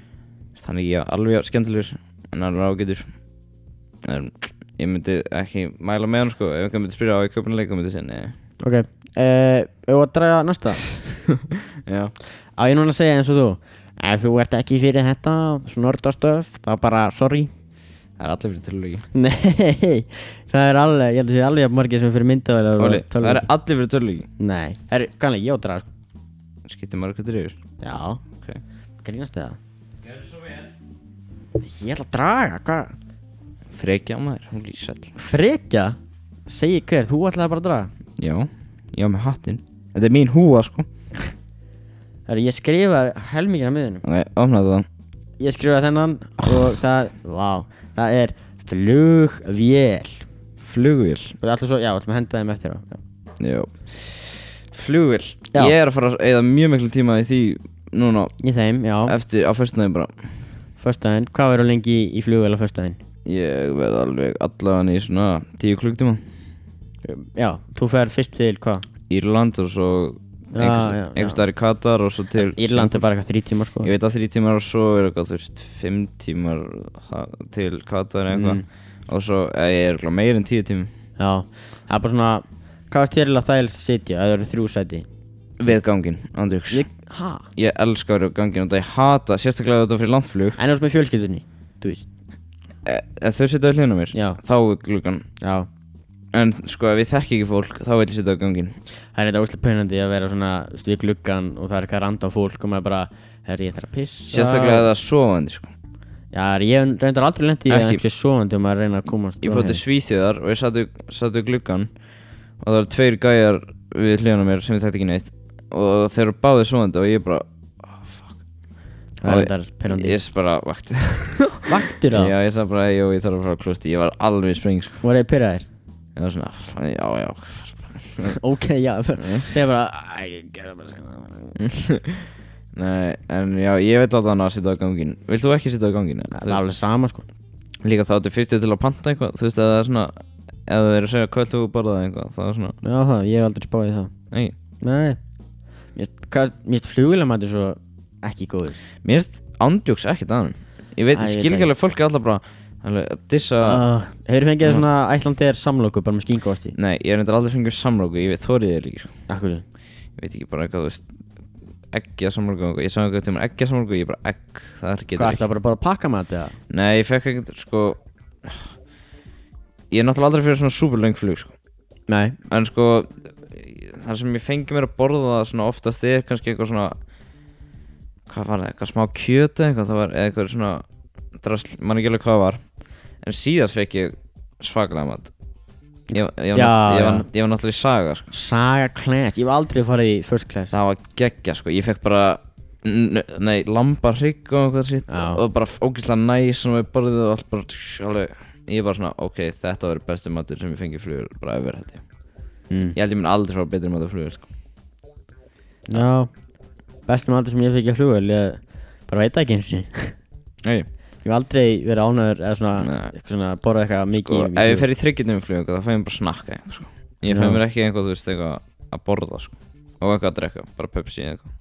Þannig ég er alveg jafn skemmtilegur en hann er ágætur en, Ég myndi ekki mæla með hann sko ef einhver myndi spyrja á ég köpun leikum myndi ég segja nei ok uh, og að draga næsta Já, á ég núna að segja eins og þú ef þú ert ekki fyrir þetta snortastöf þá bara sorry það er allir fyrir töluleiki Nei, það er alveg, ég held að það sé alveg jafn margir sem fyrir myndavælar Óli, það er allir fyrir töluleiki Nei, það er kannlega ég á drag Skiptir maður hvað drifur Já, okay. grínast það Gerðu svo vel Ég ætla að draga, hvað? Frekja maður, hún lýsall Frekja? Segji hver, þú ætlaði bara að draga Já, ég á með hattinn Þetta er mín húa sko Það er, ég skrifaði helmingina miðunum Ok, opnaðu það Ég skrifaði þennan og það, vá, það er flugvél Flugvél Og alltaf svo, já, ætlum að henda þeim eftir á já. Já Flugvél Já. Ég er að fara að eða mjög miklu tíma í því Núna, Í þeim, já, eftir á föstudaginn bara föstudaginn, hvað verður lengi í flugvél á föstudaginn? Ég verð alveg allan í svona Tíu klukktíma Já, þú fer fyrst til hvað? Írland og svo Já, já, já. Einhvers staðar í Katar og svo til Írland er bara eitthvað þrjí tíma sko Ég veit að þrjí tímar og svo er eitthvað þú veist Fimm tímar það- til Katar eitthvað Mm. Og svo eða, ég er eitthvað meir en tíu tíma Já, það er bara svona Hvað varst þér að þægilegst sitja, að það eru þrjú sæti? Við ganginn, andjóks Ég, ha? Ég elska að vera á ganginn og það ég hata Sérstaklega þetta fyrir landflug En þú veist með fjölskyldunni, þú veist e- ef þau setja hljóna mér Já, þá er gluggan já en sko ef ég þekki ekki fólk þá vil ég setja á gangin Það er þetta óslega penandi að vera svona þú veist, við gluggan og það er eitthvað random fólk og maður bara Herri, ég þarf að pissa sérstaklega ef það er sofandi sko. Já, ég hef reyndar aldrei lent í því að Ekki. einhversu sofandi og maður reyna að komast ég fór til Svíþjóðar og ég satt við, satt við gluggan og það eru tveir gæjar við hljóna mér sem ég þekkti ekki neitt og þeir eru báðið sofandi og ég bara oh, fuck. Það er reyndar penandi ég er bara vakt Vaktur það? já ég sagði bara jú ég þarf að fara að klústi ég var alveg í spring sko. Voru þið pyrraðir? ég var svona "Ah, já já ok, já, segja bara Æ, ég gerði bara svona Nei, en já, ég veit að að setja á gangin Vilt þú ekki setja á gangin? Það er alveg sama sko Líka þá ertu fyrstu til að panta eitthvað Þú veist að það er svona Ef þau eru að segja hvað þú borðaði eitthvað Það er svona Já, það, ég hef aldrei spáð í það Nei Nei Mér finnst flugilamæti svo ekki góður Mér finnst ándjóks ekkert að hann Ég veit, ég Æ, ég veit skil ekki. ekki alveg fólk er alltaf bara alveg, að Dissa uh, Hefur fengið svona æslandeir samloku bara með skínkosti Nei, ég er reyndar aldrei fengið samlóku Ég veit þórið þér líka sko. Akkur Ég veit ekki bara eitthvað, þú veist Eggja samlóku Ég sagði eitthvað tíma eggja samlóku Ég bara egg Það er Hvað getur er það bara, bara að pakka mati eða? ekki Nei, ég fekk ekkert, sko Ég er náttúrulega aldrei fyrir svona superlöng flug, sko Nei en sko þar sem ég fengi mér að borða það svona oftast er kannski eitthvað svona hvað var það, eitthvað smá kjöt eða eitthvað það var eða eitthvað svona drasl, mann ekki alveg hvað það var en síðast fekk ég svaklega mat ég, ég, var nátt- Já, ég, var, já. nátt- ég var náttúrulega í saga sko. Saga class Ég hef aldrei farið í first class það var geggja sko, ég fekk bara n- nei, lamba hrygg og eitthvað sitt Já. og bara ógislega næs og ég borðið og allt bara tss, alveg, ég var svona, ok, þetta var besti matur sem ég fengi flugur bara yfir held ég mm. ég held ég mun aldrei fara betri matur flugur sko. Já Bestum aldrei sem ég fikk í flugvel Ég bara veit það ekki eins og nei Ég hef aldrei verið ánæður eða svona, Nei. eitthvað svona borða eitthvað Sko, mikið ef ég fer í þryggjutum flug þá fæ ég mér bara snakka eitthvað, sko. ég fæ Já. mér ekki eitthvað, þú veist, eitthvað að borða sko. og eitthvað að drekka, bara Pepsi eða eitthvað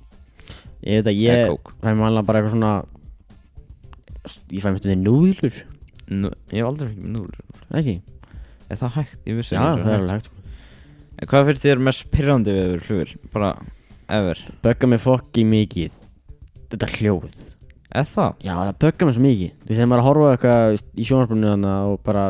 Ég veit eða að ég kók fæ mér alveg bara eitthvað svona Ég fæ mér þetta núðlur Nú, ég hef aldrei fengið mér núl Ekki er það hægt, ég vissi Já, ekki hægt. það er alveg hægt sko. en hvað fyrir þér mest pirrandi við yfir flugil bara, ever, bögga mig fokki mikið þetta hljóð eða það já það bögga mig svo mikið þú veist þegar maður er að horfa á eitthvað þú veist, í sjónvarpunni þannig og bara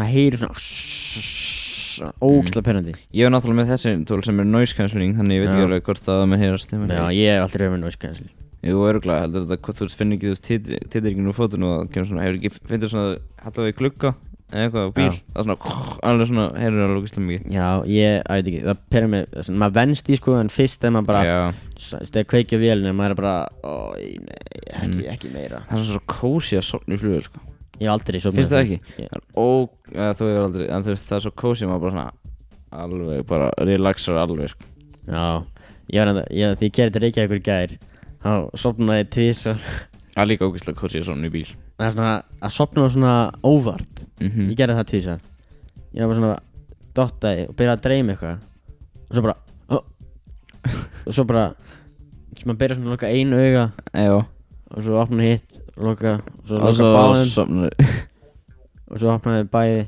maður heyrir svona ógæsla perandi Mm. ég er náttúrulega með þessi tól sem er noise cancelling þannig ég veit Já. ekki alveg hvort að það með heyrast þeim já ég hef aldrei verið með noise cancel Jú, örgulega, heldur þetta hvort þú finnir ekki þú veist, titri- titringin úr fótun og það kemur svona, hefur ekki, finnir svona, hallar við glugga eða eitthvað á bíl, Já. það er svona, alveg svona, heyrður alveg ógeðslega mikið. já ég, að veit ekki það perið mig svona, maður venst í sko en fyrst þegar maður bara Já. s- þú veist þegar kveikja vélina maður er bara ó nei ekki, Mm. ekki meira Það er svo kósi að sofna í flugvél sko. ég hef aldrei svo Finnst það ekki? Ég- Það er ó, eða, þú hefur aldrei, en þú veist það er svo kósi maður bara svona alveg, bara relaxar alveg sko. já ég var enda ég, því ég gerði þetta reykja ykkur gær þá sopnaði ég tísar Það er líka ógeðslega kosið svona í bíl það er svona að sopna var svona óvart Mhm. ég gerði það tísar ég var bara svona dottaði og byrjaði að dreyma eitthvað og svo bara oh. og svo bara sem að byrja svona að loka einu auga Já og svo opna hitt loka og svo Og loka svo báðum sofnar og svo opnaði bæði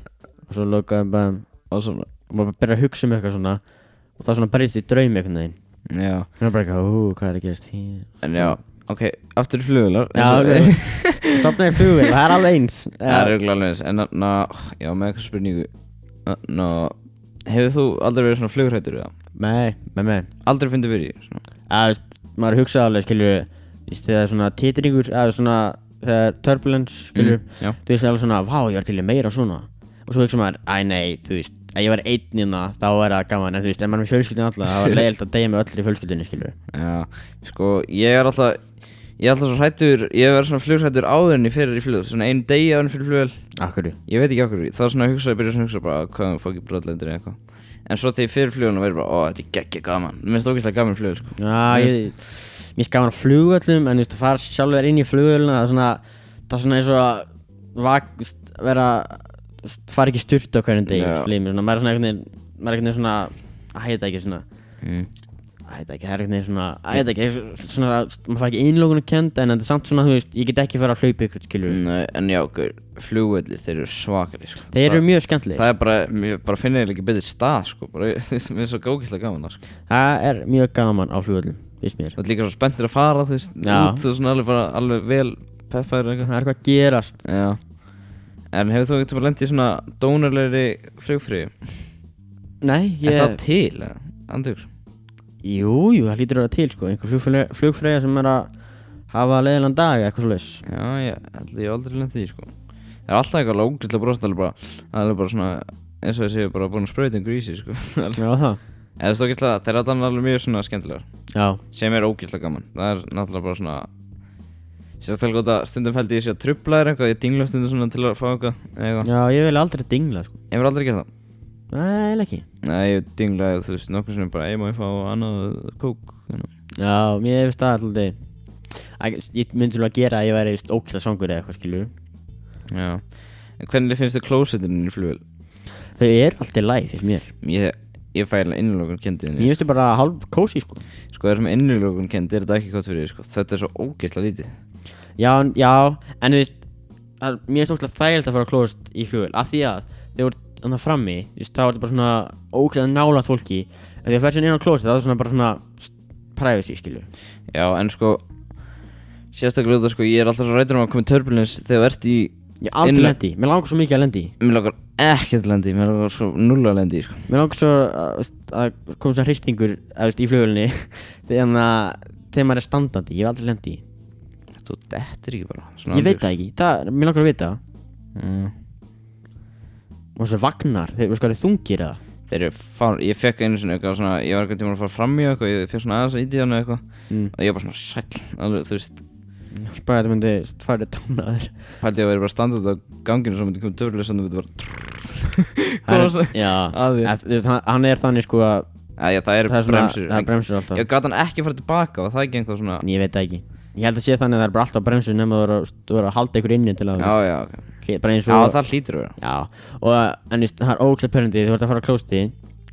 og svo lokaði bæðum Og sofnar og maður byrjar að hugsa um eitthvað svona og það svona breytist í draumi einhvern veginn Já og það er bara eitthvað, hú, hvað er að gerast hér En já Ok, aftur í flugular Já, sopnaði eh, í flugvél, það er alveg eins Það er auðvitað alveg eins En þarna Já, með eitthvað spurningu Þarna Hefur þú aldrei verið svona flugrættur eða? Nei, nei, nei Aldrei fundið fyrir því svona að, þú veist, maður hugsa alveg, skilju veist, þegar svona titringur, eða svona þegar turbulence, skilju Mm, Já þú veist, það er alveg svona, vá, ég var til í meira svona og svo hugsa maður, æ, nei, þú veist ef ég var einn inna, þá er það gaman en þú veist, ef maður er með fjölskyldinu alla, þá er leiðilt að deyja með öllur í fjölskyldinu, skilju Já, sko, ég er alltaf Ég er alltaf svo hrættur Ég hef verið svona flugrættur áður en ég fyrir í flug Svona einu degi áður en fyrir flugvel Akkur, Ég veit ekki okkur Það er svona að hugsa Ég byrja svona að hugsa bara Hvað er fokkið brotlendur eða eitthvað En svo þegar ég fyrir flugvelna verður bara Ó, þetta er geggja gaman Mér finnst ógeðslega gaman flugvel sko. Já, ég, mér skafan á flugvöllum en þú veist að fara sjálfur inn í flugvölluna það er svona, það er svona eins og að vak, þú veist, vera þú veist, fara ekki styrta á hverjum degi Já. yeah. svona, maður er svona einhvern veginn, maður er einhvern veginn svona að heita ekki svona mm. að heita ekki, það er einhvern veginn svona að heita ekki, svona, maður fara ekki innlókun og kenda en þetta er samt svona, þú veist, ég get ekki fara að hlaupa ykkur skilur, Nei, Mm, eh, En já, okkur Flugvelli, þeir eru svakari sko. þeir eru það, mjög skemmtileg það, það er bara Mér bara finnir eiginlega ekki betri stað sko. bara, Mér er svo ógeðslega gaman það, sko. er mjög gaman á flugvöllum, finnst mér Þú ert líka svo spenntir að fara Þú veist Já. út, Þú er svona alveg, bara, alveg vel peppaður eða eitthvað. það er eitthvað að gerast Já En hefur þú eitthvað lendið í svona dónarlegri flugfríu? Nei, ég, Er það til? eða? Andur Jú, jú, það lítur að vera til sko, einhver flugfreyja, flugfreyja sem er að hafa leiðilegan dag, eitthvað svoleiðis. Já, ég held ég hef aldrei lendið í því, sko Það er alltaf eitthvað lókislega brost alveg bara Það er bara svona eins og þessi bara búin að sprauta um grísi sko Alveg. Já, það. Eða þú stókist það, þeir eru þannig alveg mjög svona skemmtilegar Já, Sem er ógislega gaman Það er náttúrulega bara svona Sérstaklega gott að stundum fældi ég sé að trubla er eitthvað Ég dingla stundum svona til að fá eitthvað eða eitthvað. já, ég vil aldrei dingla sko. Ég hef aldrei gert það Nei, eiginlega ekki. Nei, ég dinglaði þú veist nokkur sem bara Ég má ég fá annað kók þannig. Já, mér hefist það alltaf. Æ, Ég myndi alveg að gera að ég væri just ókvæða svangur eða eitthvað, skilur. Já En Hvernig finnst þið klósetinu í flugvél? Þau eru alltaf læg, finnst mér. Ég, ég fæ hérna innlokun Mér kendið finnst þau bara hálf kósi sko. Sko það sem innlokun kendið er þetta ekki gott fyrir þig, sko. Þetta er svo ógeðslega lítið Já, en- já, en þú veist, það, mér finnst ókvæða þægilegt að fara að klóðast í flugvel, af því að þau voru þannig frammi, þú veist, þá var þetta bara svona ókvæða nálað fólki, en þegar þú fer sér inn á klóðast, það er svona bara svona privacy, skilur. Já en sko Sérstaklega út af sko ég er alltaf svo rættur um að koma í turbulence Þegar þú ert í Ég hef aldrei Innle- lendi, mér langar svo mikið að lendi Mér lakar ekkert lendi Mér lakar svo null að lendi sko. Mér langar svo að, veist, að koma svo hristingur að, veist, í flugulni þegar að þegar maður er standandi, ég hef aldrei lendi Þú dettir ekki bara Ég veit það ekki, það, mér langar að vita það. mm. og svo vagnar, þeir, veist hvað þeir þungir eða Þeir eru fár Ég fekk einu sinni eitthvað svona Ég var eitthvað tíma að fara fram í eitthvað Ég fekk svona aðeins að íti hann eitthvað Mm. Og ég var bara svona sæll alveg, Þú veist Spæði þetta myndi farið tánaður Pældi ég að vera bara standað á ganginu Svo myndi koma turbulence Og þú myndi bara Hann- Hvað var það? Já, Að þér. en þú veist, hann- hann er þannig sko að Æja, það eru það er svona, bremsur það er bremsur alltaf Ég gat hann ekki að fara tilbaka og það er ekki einhvað svona En Ég veit það ekki Ég held að sé þannig að það er bara alltaf bremsur nema þú eru að- þú eru að halda ykkur inni til að Já, já, ok Hlý- bara eins Já, og það hlýtur að vera Já, og en þú veist, það er ógæslega pörrandi þú ert að fara á klósti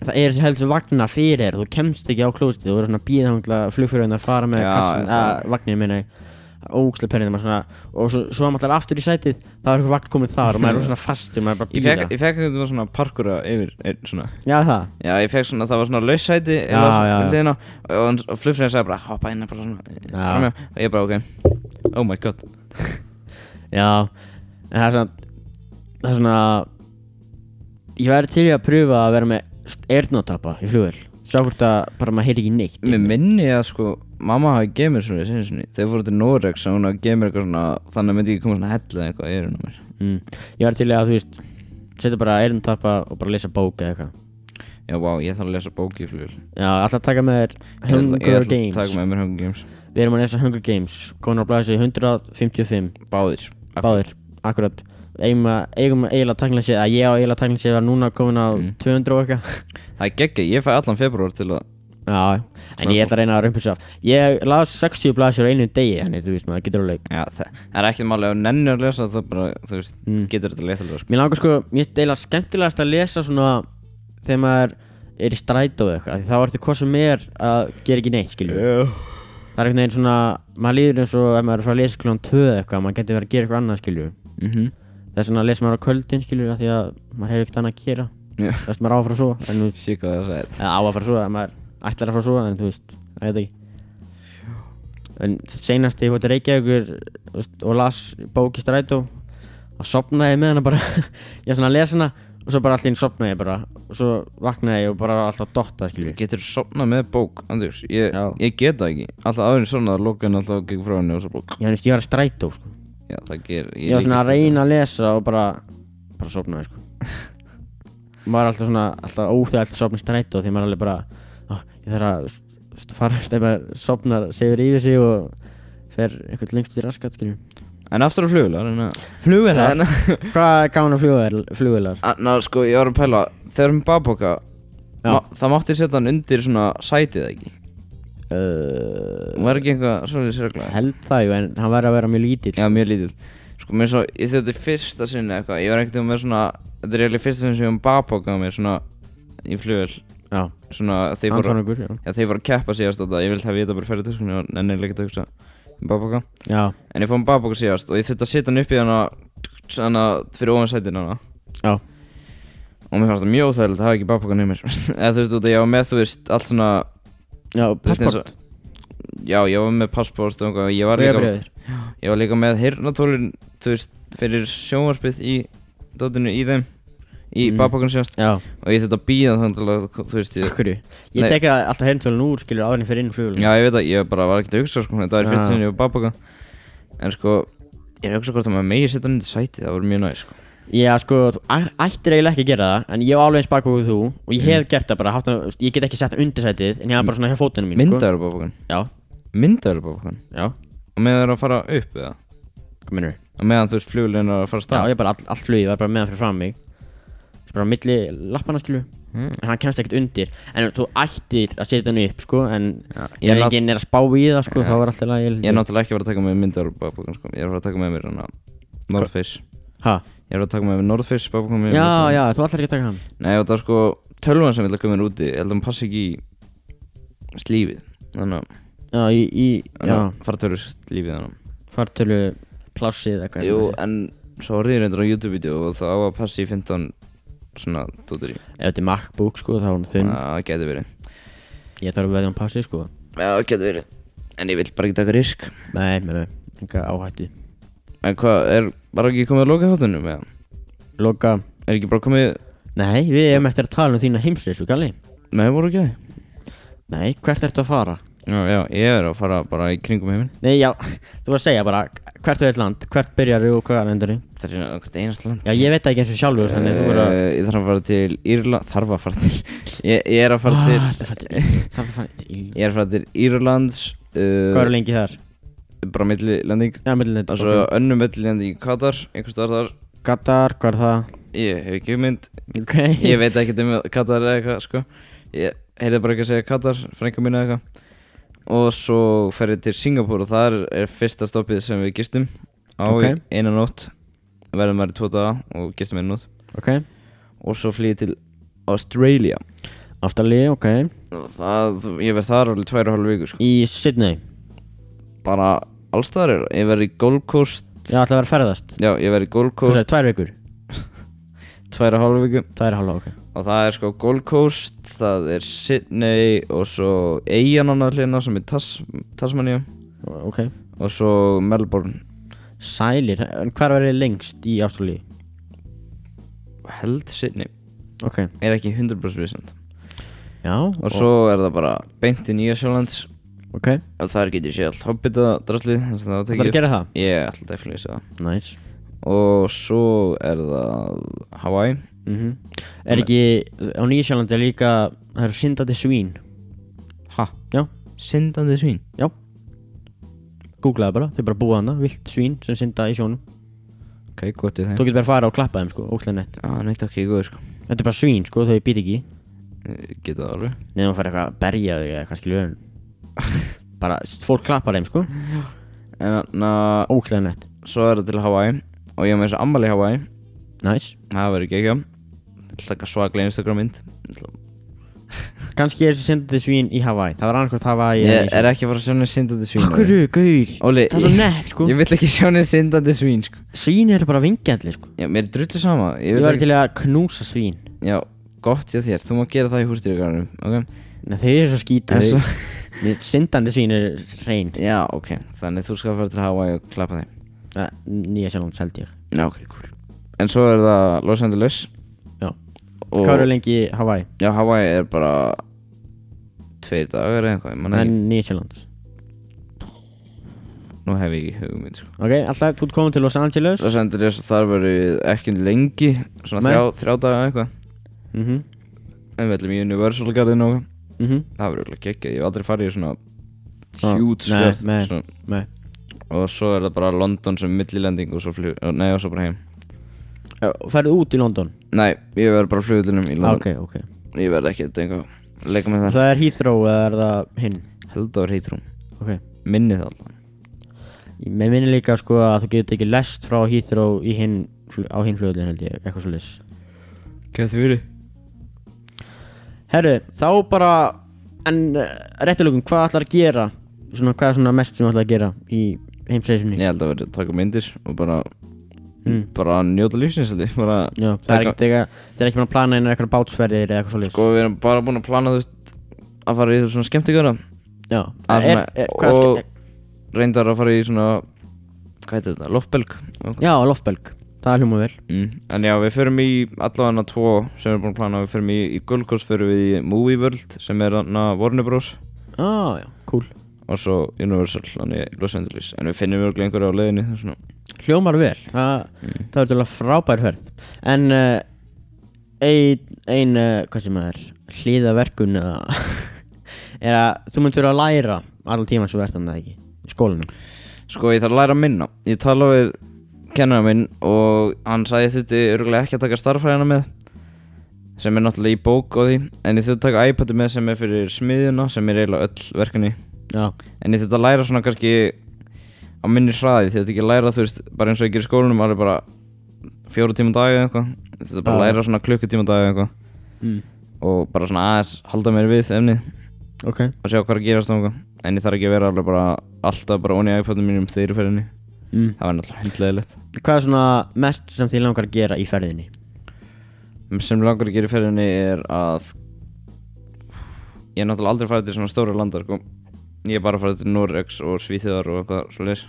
það er þessi helst vagna fyrir þér, þú kemst ekki á klósti þú verður svona bíðhangla flugfyririnn að fara með Já, kassin, það- að vagninu minna ógæslega pörrandi, maður svona og svo, svo að maður ætlar aftur í sætið, það er eitthvað vagn komið þar og maður er svona fastur, maður er bara að Ég bíða fekk, ég fekk einhvern veginn svona parkura yfir einn svona Já, það, Já, ég fekk svona, það var svona laussæti Já, já, já. já Og, hann- og flugfræðin sagði bara, hoppa inn bara svona framjá Og ég bara, ok Oh my god já en það er svona það er svona ég væri til í að pröfa að vera með eirnátappa í flugvel sjá hvort að bara maður heyri ekki neitt Mér minni ég að sko, mamma hafi gefið mér svona sinni sinni Þegar fóru til Norex og hún hafi gefið mér eitthvað svona Þannig að myndi ekki koma svona hella eitthvað í eyrun á mér mm. Ég var til í að þú veist setja bara eirntappa og bara lesa bók eða eitthvað Já, vá, ég þarf að lesa bóki í flugil Já, alltaf taka með þér Ég ætla Hunger að Games taka með mér Hunger Games Við erum að lesa Hunger Games Konar á blæðis 155 Báðir Báðir, akkurat Eigum að, eigum að eiginlega tæknilega séð Mm. að ég á eiginlega tæknilega séð var núna komin á 200 og eitthvað Það er geggja, ég fæ allan februar til að Já, en ég ætla að reyna að römpisa af Ég las 60 blasir á einum degi Þannig, þú veist maður, getur alveg Já, það það er ekkert máli að nennu að lesa það bara, þú veist, Mm. getur þetta leithalveg sko. Mér langar sko, mér er deila skemmtilegast að lesa svona Þegar maður er í strætó eða eitthvað af Því þá ertu hvað sem er að gera ekki neitt, skilju yeah. Það er einhvern veginn svona, maður líður eins og Ef maður er frá að lesa klón 2 eða eitthvað Maður getur verið að gera eitthvað annað, skilju mm -hmm. Það er svona að lesa maður á kvöldin, skilju af Því að maður hefur ekkert annað að gera Já. Það er maður á að fara að sofa en, þú veist, Sýk hvað það sagði Eða á að fara að sofa, ef maður ætlar að fara að sofa En þú veist, það er þetta ekki En senast þegar ég fór til Reykjavíkur þú veist, Og las bók í strætó Og sopnaði ég með hana bara Ég var svona að lesa hana Og svo bara allir sopnaði ég bara Og svo vaknaði ég og bara alltaf dotta, skilju Getur sofnað með bók, Andrjus Ég, Já. ég get það ekki Alltaf aðurinn svona að lóka henni alltaf gegn frá henni og svo bók Ég, þú veist, ég var að strætó, sko Já, það ger Ég var líkist svona að þetta. reyna að lesa og bara bara sofnaði sko maður er alltaf svona alltaf óþægilegt að sofna í strætó því maður er alveg bara "Ó, ég þarf að st- st- fara þú veist, ef maður sofnar segur yfir sig og fer eitthvað lengst út í raskat skiljum En aftur á flugvélar en að- Flugvélar? En að- hvað er gaman að flugvelar? að- Ná, sko, ég var að pæla Þegar um babóka Já. ma- Það mátti setja hann undir svona sætið ekki Uh, Var ekki eitthvað svolítið regla held það jú en hann verður að vera mjög lítill Já, mjög lítill Sko, mér svo, ég þetta er fyrsta sinni eða eitthvað Ég var ekkert um með svona Þetta er eiginlega fyrsta sinni sem ég um babóka með svona Í flugvél já Svona, þeir fóru Antonaugur já Já, þeir voru að keppa síðast á þetta Ég vildi hafa ég þetta bara fyrir töskunni og nennilega ekki að hugsa um babóka já En ég fór um babóka síðast og ég þurfti að setja hann upp í hana Svona fyrir ofan sætin hana já Og mér fannst það mjög óþægilegt að hafa ekki babókan í mér Eða þú veist, út að ég var með, þú veist, allt svona já þú veist, eins og- passport Já, ég var með passport og eitthvað Ég var líka, Vegabréfið. ég var líka með hirnatólin, þú veist, fyrir sjónvarpið í Dóttinu í þeim Í Mm. mm. babókan síðast já Og ég þurfti að býða þannig til að, þú veist, ég akkurju ég Nei. tek það alltaf heimtölun úr skilur áður en ég fer inn í flugvelar Já, ég veit að ég bara var ekkert að hugsa sko, þetta var í Já. fyrst sinni og babaka En sko, ég er að hugsa hvort að maður megi setja hann undir sæti, það voru mjög næst sko Já, sko, þú æ- ættir eiginlega ekki að gera það En ég á alveg eins bakvöku þú Og ég Mm. hef gert það bara haft, það- þú veist, Ég get ekki sett það undir sætið En ég hef bara svona hjá fótunum mín Myndaður babakan, sko. Já, myndaður babakan já, Og meðan það er að fara upp eða hvað minnur Og meðan þú veist fluglegin er að fara af Já, stað ég bara all, allt flugið var bara meðan fyrir fram mig Svo Bara á milli lappana skilu Mm. En hann kemst ekkert undir En þú ættir að setja hann upp, sko En Já, ég ég er lát- enginn er að spá í það, sko Já. Þá er alltaf læg Ég er náttúrulega ekki að fara að taka með myndaður babakan sko Ég er að fara að taka með mér hana North Face Ha? Ég er að taka með mér North Face babakan mér Já, já, þú ætlar ekki að taka hann Nei, og það er sko tölvan sem vil að koma mér úti Ég held að hann passi ekki í slífið Þannig að- Já, í, í þannig já, að fartölur slífið þannig að- fartölu plássið eitthvað sem Jú, það sé. en svo horfði ég reyndur á YouTube-vídeó og það á að passa í 15 svona dóttir í Ef þetta er MacBook, sko, þá er hún þunn Það geti verið Ég þarf að veðja hann passið, sko Já, það geti verið En ég vil bara ekki taka risk Nei, nei, nei, enga áhættu En hvað, er bara ekki komið að loka þáttunum eða? Loka Er ekki bara komið Nei, við hefum eftir að tala um þína heimsreysu, Kalli Nei, voru ekki það Nei, hvert ertu að fara? Já, já, ég er að fara bara í kringum heiminn Nei, já, þú var að segja bara Hvert er þitt land, hvert byrjarðu og hvað endur Það er einhvern einast land Já, ég veit það ekki eins og sjálfur Þannig þú voru að Eh, Ég þarf að fara til Írland Þarf að fara til Ég, ég er að fara til Ah, ertu að fara til- Þarf að fara til Ég er að fara til Írlands uh, Hvað eru lengi þar? Bara milli lending Já, mellum þetta Og svo önnum milli lending í Katar Einhvers staðar þar Gatar, hvað er það? Ég hef ekki mynd Ok Ég veit ekki um Katar eða eitthvað sko Ég heyrði bara ekki að segja Katar, frænka mín eða eitthvað Og svo fer ég til Singapur og þar er fyrsta stoppið sem við gistum Á okay. Ok. eina nótt Verðum maður í tvo daga og gistum eina nótt Ok Og svo flýði til Australia Ástali, ok Og það, ég verð þar alveg tvær og hálf viku sko Í Sydney Bara allstaðar er, ég verð í Gold Coast Já, ætla að vera að ferðast Já, ég verð í Gold Þú Coast sagði tvær vikur Tvær og hálf viku Það er hálfa, ok Og það er sko Gold Coast, það er Sydney og svo Eyjanana hlina sem er Tas Tasmania Ok og svo Melbourne Sælir, en hvað verður lengst í Ástali? held Sydney Ok er ekki 100% vissand Já og svo er það bara beint í Nýja Sjálands Ok og þar getur sé allt hobbita draslið þannig að það Það er að tekið gera það ég ætla að dæfla lýsa það Næs og svo er það Hawaii Mhm. Er ekki, á Nýjasjálandi er líka, það eru syndandi svín ha, Já, syndandi svín já Googlaði bara, þau bara búa hana, vilt svín sem synda í sjónum ok, gott í þeim Þú getur bara að fara og klappa þeim sko, ókslega nett ah, neitt ok, góð sko Þetta er bara svín sko, þau být ekki Ég Geta það alveg nefnum að fara eitthvað að berja þig eða eitthvað skilur en bara fólk klappar þeim sko En þannig að óklæðan nett Svo er það til Hawaii Og ég er með þessu ammali í Hawaii næs Það verður ekki ekki Taka svaklega Instagram mynd Ég ætla- kannski er þessi sendandi svín í Hawaii það var annarkvæmt Hawaii Ég er ekki að fara að sjá henni syndandi svín okkur gaur Óli, það er svo ég- nett sko Ég vil ekki sjá henni syndandi svín sko. svín eru bara vingjallir sko Já, mér er drullu sama Ég ég vil var ekki til að knúsa svín Já, gott hjá þér Þú má gera það í hústýrigarnum Ok Nei, þau eru svo En skítið svo- þau- sendandi svín eru hrein Já, ok Þannig þú skal fara til Hawaii og klappa þeim Eh, nýja sjálfum seldi ég Já, ok, cool En svo er það Los Angeles Já. Og- hvað eru lengi í Hawaii Já, Hawaii er bara Tveir dagar eða eitthvað, ég man ekki en nýja sjálfum Nú hef ég ekki hugmynd sko. ok alltaf þú ert komin til Los Angeles Los Angeles þar verið ekki lengi Svona Nei. þrjá, þrjá dagar eða eitthvað mhm En við ætlum í Universal Garden og eitthvað. mhm Það verður ekki ekki, ég hef aldrei farið í svona Ah, Huge nei, skref, nei, svona. nei. Og svo er það bara London sem millilending og svo flug og- Nei, og svo bara heim Eh, Færðu út í London? Nei, ég verður bara flugullinum í Ah, London ok, ok Ég verð ekki þetta einhvað Leika með það Það er Heathrow eða er það hinn? Heldaður heitrúm Ok Minni það alltaf Mér minni líka sko að þú getur tekið lest frá Heathrow í hinn fl- á hinn flugvöldin held ég, eitthvað svo lis Hvað þið verið? Herru, þá bara en eh, réttilegum, hvað ætlar að gera? Svona, hvað er svona mest sem ætlar að gera í heimsreysinni? Ég held að verði að taka myndir og bara Mm. Bara njóta lífsins held ég bara, Já, það er Taka- ekkert eitthvað það er ekki bara að plana einar eitthvað bátsferðir eða eitthvað svo lis Sko við erum bara búin að plana þú veist Að fara í svona skemmtikara Já, að er, svona- er, hvað og- er, Reyndar að fara í svona Hvað heitir þetta? Loftbelg okay. Já, loftbelg, það er hljóma vel mm. En já við förum í allavega tvo Sem við erum búin að plana Við förum í, í Gulgos förum við í Movie World Sem er hann að Warner Bros Á, já, cool Og svo Universal Þannig í Los Angeles En við finnum örglega einhverju á leiðinni það er svona. Hljómar vel, Þa, það er til að frábær ferð En uh, ein, ein uh, hvað sem það er, hlýðaverkun eða er að þú myndur að læra allan tímann svo verðan það ekki í skólanum Sko ég þarf að læra að minna Ég tala við kennara minn Og hann sagði ég þurfti örglega ekki að taka starffræðina með Sem er náttúrulega í bók og því En ég þurfti að taka iPadu með sem er fyrir smiðjuna Sem er eiginlega öll verkefni Já, En ég þurfti að læra svona kannski á minni hraði, þið þetta ekki að læra þú veist, bara eins og ég gerir í skólanum, alveg bara fjóru tíma á dag eða eitthvað Ég þurfti bara að Já. læra svona klukkutíma á dag eða eitthvað mm. og bara svona aðeins halda mér við efni ok og sjá hvað er að gerast og eitthvað en ég þarf ekki að vera alveg bara alltaf bara onni í iPadum mínum þegar ég fer henni mm. það var náttúrulega hundleðilegt Hvað er svona mest sem þið langar að gera í ferðinni? sem langar að gera í ferðinni er að ég er náttúrulega aldrei farið til svona stóra landar sko. ég er bara farið til Norex og Svíþjóðar og eitthvað svoleiðis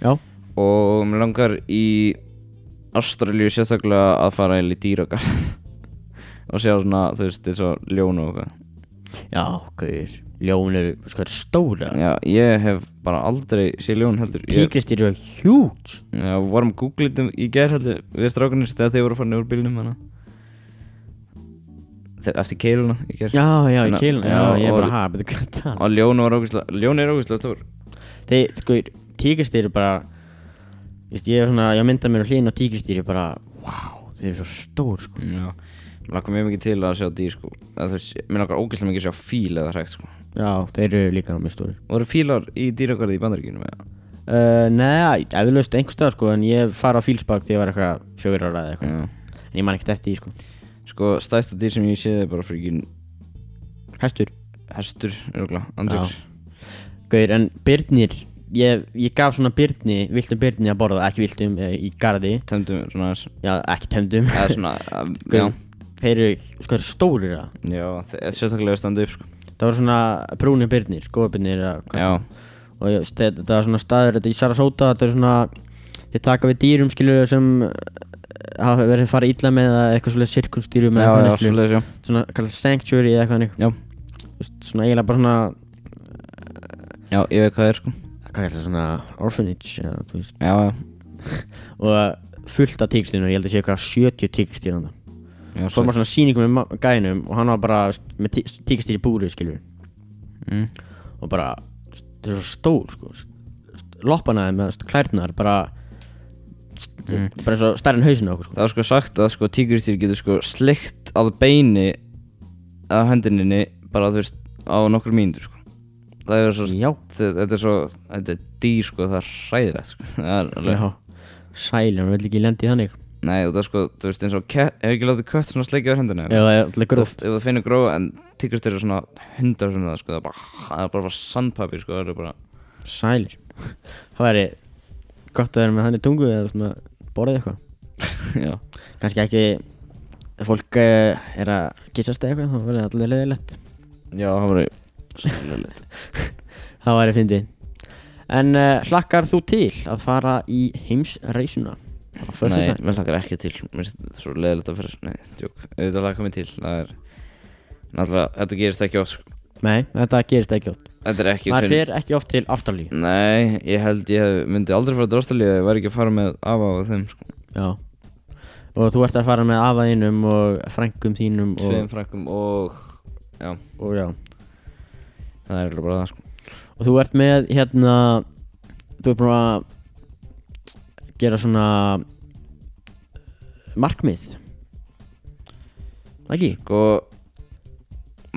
Já, og mér langar í Ástralíu sérstaklega að fara í dýrakar og sjá svona, þú veist, eins og ljón og eitthvað já, gauður Ljón eru, sko, eru stóra Já, ég hef bara aldrei séð ljón heldur Ég- Tíkristýr eru hjút Já, við vorum googlit um í gær heldur við strákunir þegar þeir voru farin úr bílnum hana Þeir, eftir keiluna í gær Já, já, í Þannig- kýlun Já, já, ég er og- bara, ha, betur hvað er það? og ljón var ógæslega, ljón er ógæslega stór þeir, sko, tíkristýr er bara Vist, ég, er svona, ég mynda mér hlýðin á tíkristýr ég bara, wow, þeir eru svo stór sko. Já, mér langar mjög mikið til að sjá dýr sko að þú veist, mér langar ógæslega mikið að sjá fíl eða hrægt sko já, þeir eru líka mjög stóri Voru fílar í dýragarði í bandaríkjunum eða? uh, neða, eflaust einhvers stað sko, en ég fara á fílsbak þegar ég var eitthvað fjögur ára eða eitthvað, Já en ég man ekkert eftir því sko. Sko, stæsta dýr sem ég séð er bara fríkin hestur, hestur, örgulega, andryggs gauður, en byrnir ég, ég gaf svona byrni, viltum byrni að borða ekki viltum eh, í gardi, Töndum svona þess já, ekki tömdum Eða svona, að, já Gaur, þeir eru, sko, þeir eru stórir það Já, þe- eða sérstaklega að standa upp, sko það var svona brúni byrnir, skóabirnir eða hvað Já, og ég- ste- þetta var svona staður þetta í Sarasota, þetta er svona þeir taka við dýrum skilur sem eh, hafa verið farið illa með eða eitthvað svolítið sirkustýrum já, eða já, eitthvað þannig, skilurðu. svoleiðis, já svona kallað sanctuary eða eitthvað þannig. Já, Þú veist, svona eiginlega bara svona já, ég veit hvað það er, sko hvað kallað svona orphanage eða, þú veist. Já, já, og fullt af tíkstýrum ég held að sé eitthvað 70 tíkstýrum já, fór maður svona sýningum með ma- gæðinum og hann var bara þú veist, með tíkstýr í búri skilur mm. og bara þau eru svo stór sko loppanaði með klærnar bara mm. bara eins og stærri en hausinu okkur sko Það var sko sagt að, sko, tígristýr getur, sko, slikt að beini af hendinni bara þú veist á nokkur mínútur sko. það er svo Já, þe- þetta er svo þetta er dýr sko það er hræðilegt sko. það er alveg já Sælir, hann vil ekki lendi þannig nei og það er sko þú veist eins og cat, er ekki látið kött svona sleikja á hendinni Eða alltaf ef gróft þú finnur gróf en tíkast eru svona hundar sem það sko það er bara það er bara, bara sandpapir sko það er bara Sælir Það væri gott að vera með hann í tungu eða svona borðið eitthvað já Kannski ekki ef fólk eh, er að kissast eða eitthvað þá verður það alltaf leiðilegt já það var sannilegt Það væri fyndi En uh, hlakkar þú til að fara í heimsreisuna? Á nei föstudaginn? mér hlakkar ekki til mér finnst svo leiðilegt að fyrir nei djók auðvitað hlakkar mér til það er náttúrulega þetta gerist ekki oft sko Nei, þetta gerist ekki oft þetta er ekki Maður kunn- fer ekki oft til Ástralíu Nei, ég held ég hef- myndi aldrei fara til Ástralíu ef ég væri ekki að fara með afa og þeim sko. Já Og þú ert að fara með afaðinum og frængum þínum Svein og, frækkum og já, og já það er eiginlega bara það sko. Og þú ert með hérna Þú ert búin að gera svona markmið Það ekki? sko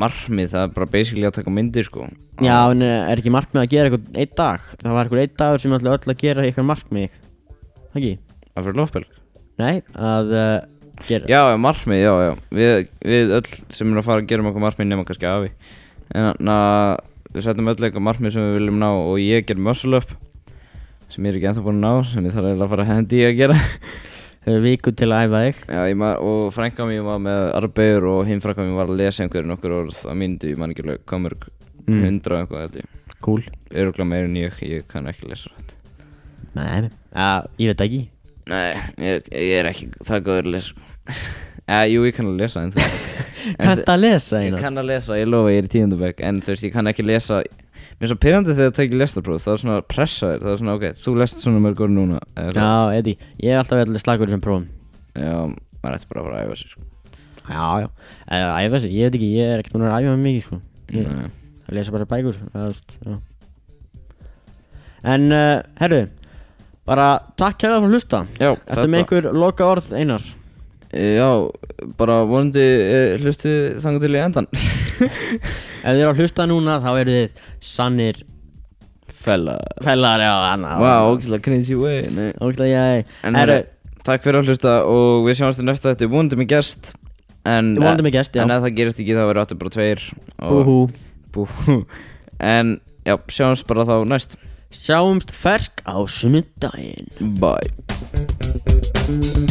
marmið, það er bara basically að taka myndir sko. Já, en eh, er ekki markmið að gera eitthvað einn dag? Það var eitthvað einn dagur sem ætlaði öll að gera eitthvað markmið Það ekki? Það fyrir lofbelg Nei, að uh, gera Já, já, marmið, já, já við, við öll sem erum að fara að gera okkur marmið nema kannski afi En na, við setjum öll eitthvað marmið sem við viljum ná og ég ger muscle up sem ég er ekki ennþá búin að ná sem ég þarf eiginlega að fara að hendi í að gera Hefur viku til að æfa þig Já, ég maður, og frænka mín var með arbegur og hinn frænka mín var að lesa einhverjum nokkur orð á myndu, ég man ekki alveg hvað mörg Mm. hundra og eitthvað þetta Cool Öruglega meira en ég, ég kann ekki lesa rætt Nei, að, ég veit ekki Nei, ég, ég er ekki það góður að lesa sko. Eða, jú, ég kann að lesa en það Kanntu að lesa Ég eina? kann að lesa, ég lofa, ég er í tíundabæk en þú veist, ég kann ekki lesa Mér er svo pyrrandi þegar það tekið lestarpróf, það er svona pressa þér, það er svona, ok, þú lest svona mörg orð núna eða svona. Já, Edi, ég hef alltaf verið slagur sem prófum Já, maður ætti bara að fara að æfa sig sko. Já, já Eða æfa sig, ég veit ekki, ég er ekkert búin að æfa mig mikið sko Ég Nei. að lesa bara bækur eða, þú veist, já. En, uh, herru Bara takk kærlega fyrir að hlusta Já, Ertu með einhver loka orð einar? Já, bara vonandi eh, hlustu þangar til í endan Ef þið eru að hlusta núna þá eru þið sannir Fella fellar eða annað Vá, ógæslega cringy way nei. Ógla ég En Herru, herru, takk fyrir að hlusta og við sjáumst í næsta þetta vonandi með gest En, eh, Vonandi með gest, já. En ef það gerist ekki þá verður áttu bara tveir og- búhú Búhú En já, sjáumst bara þá næst Sjáumst fersk á sunnudaginn Bye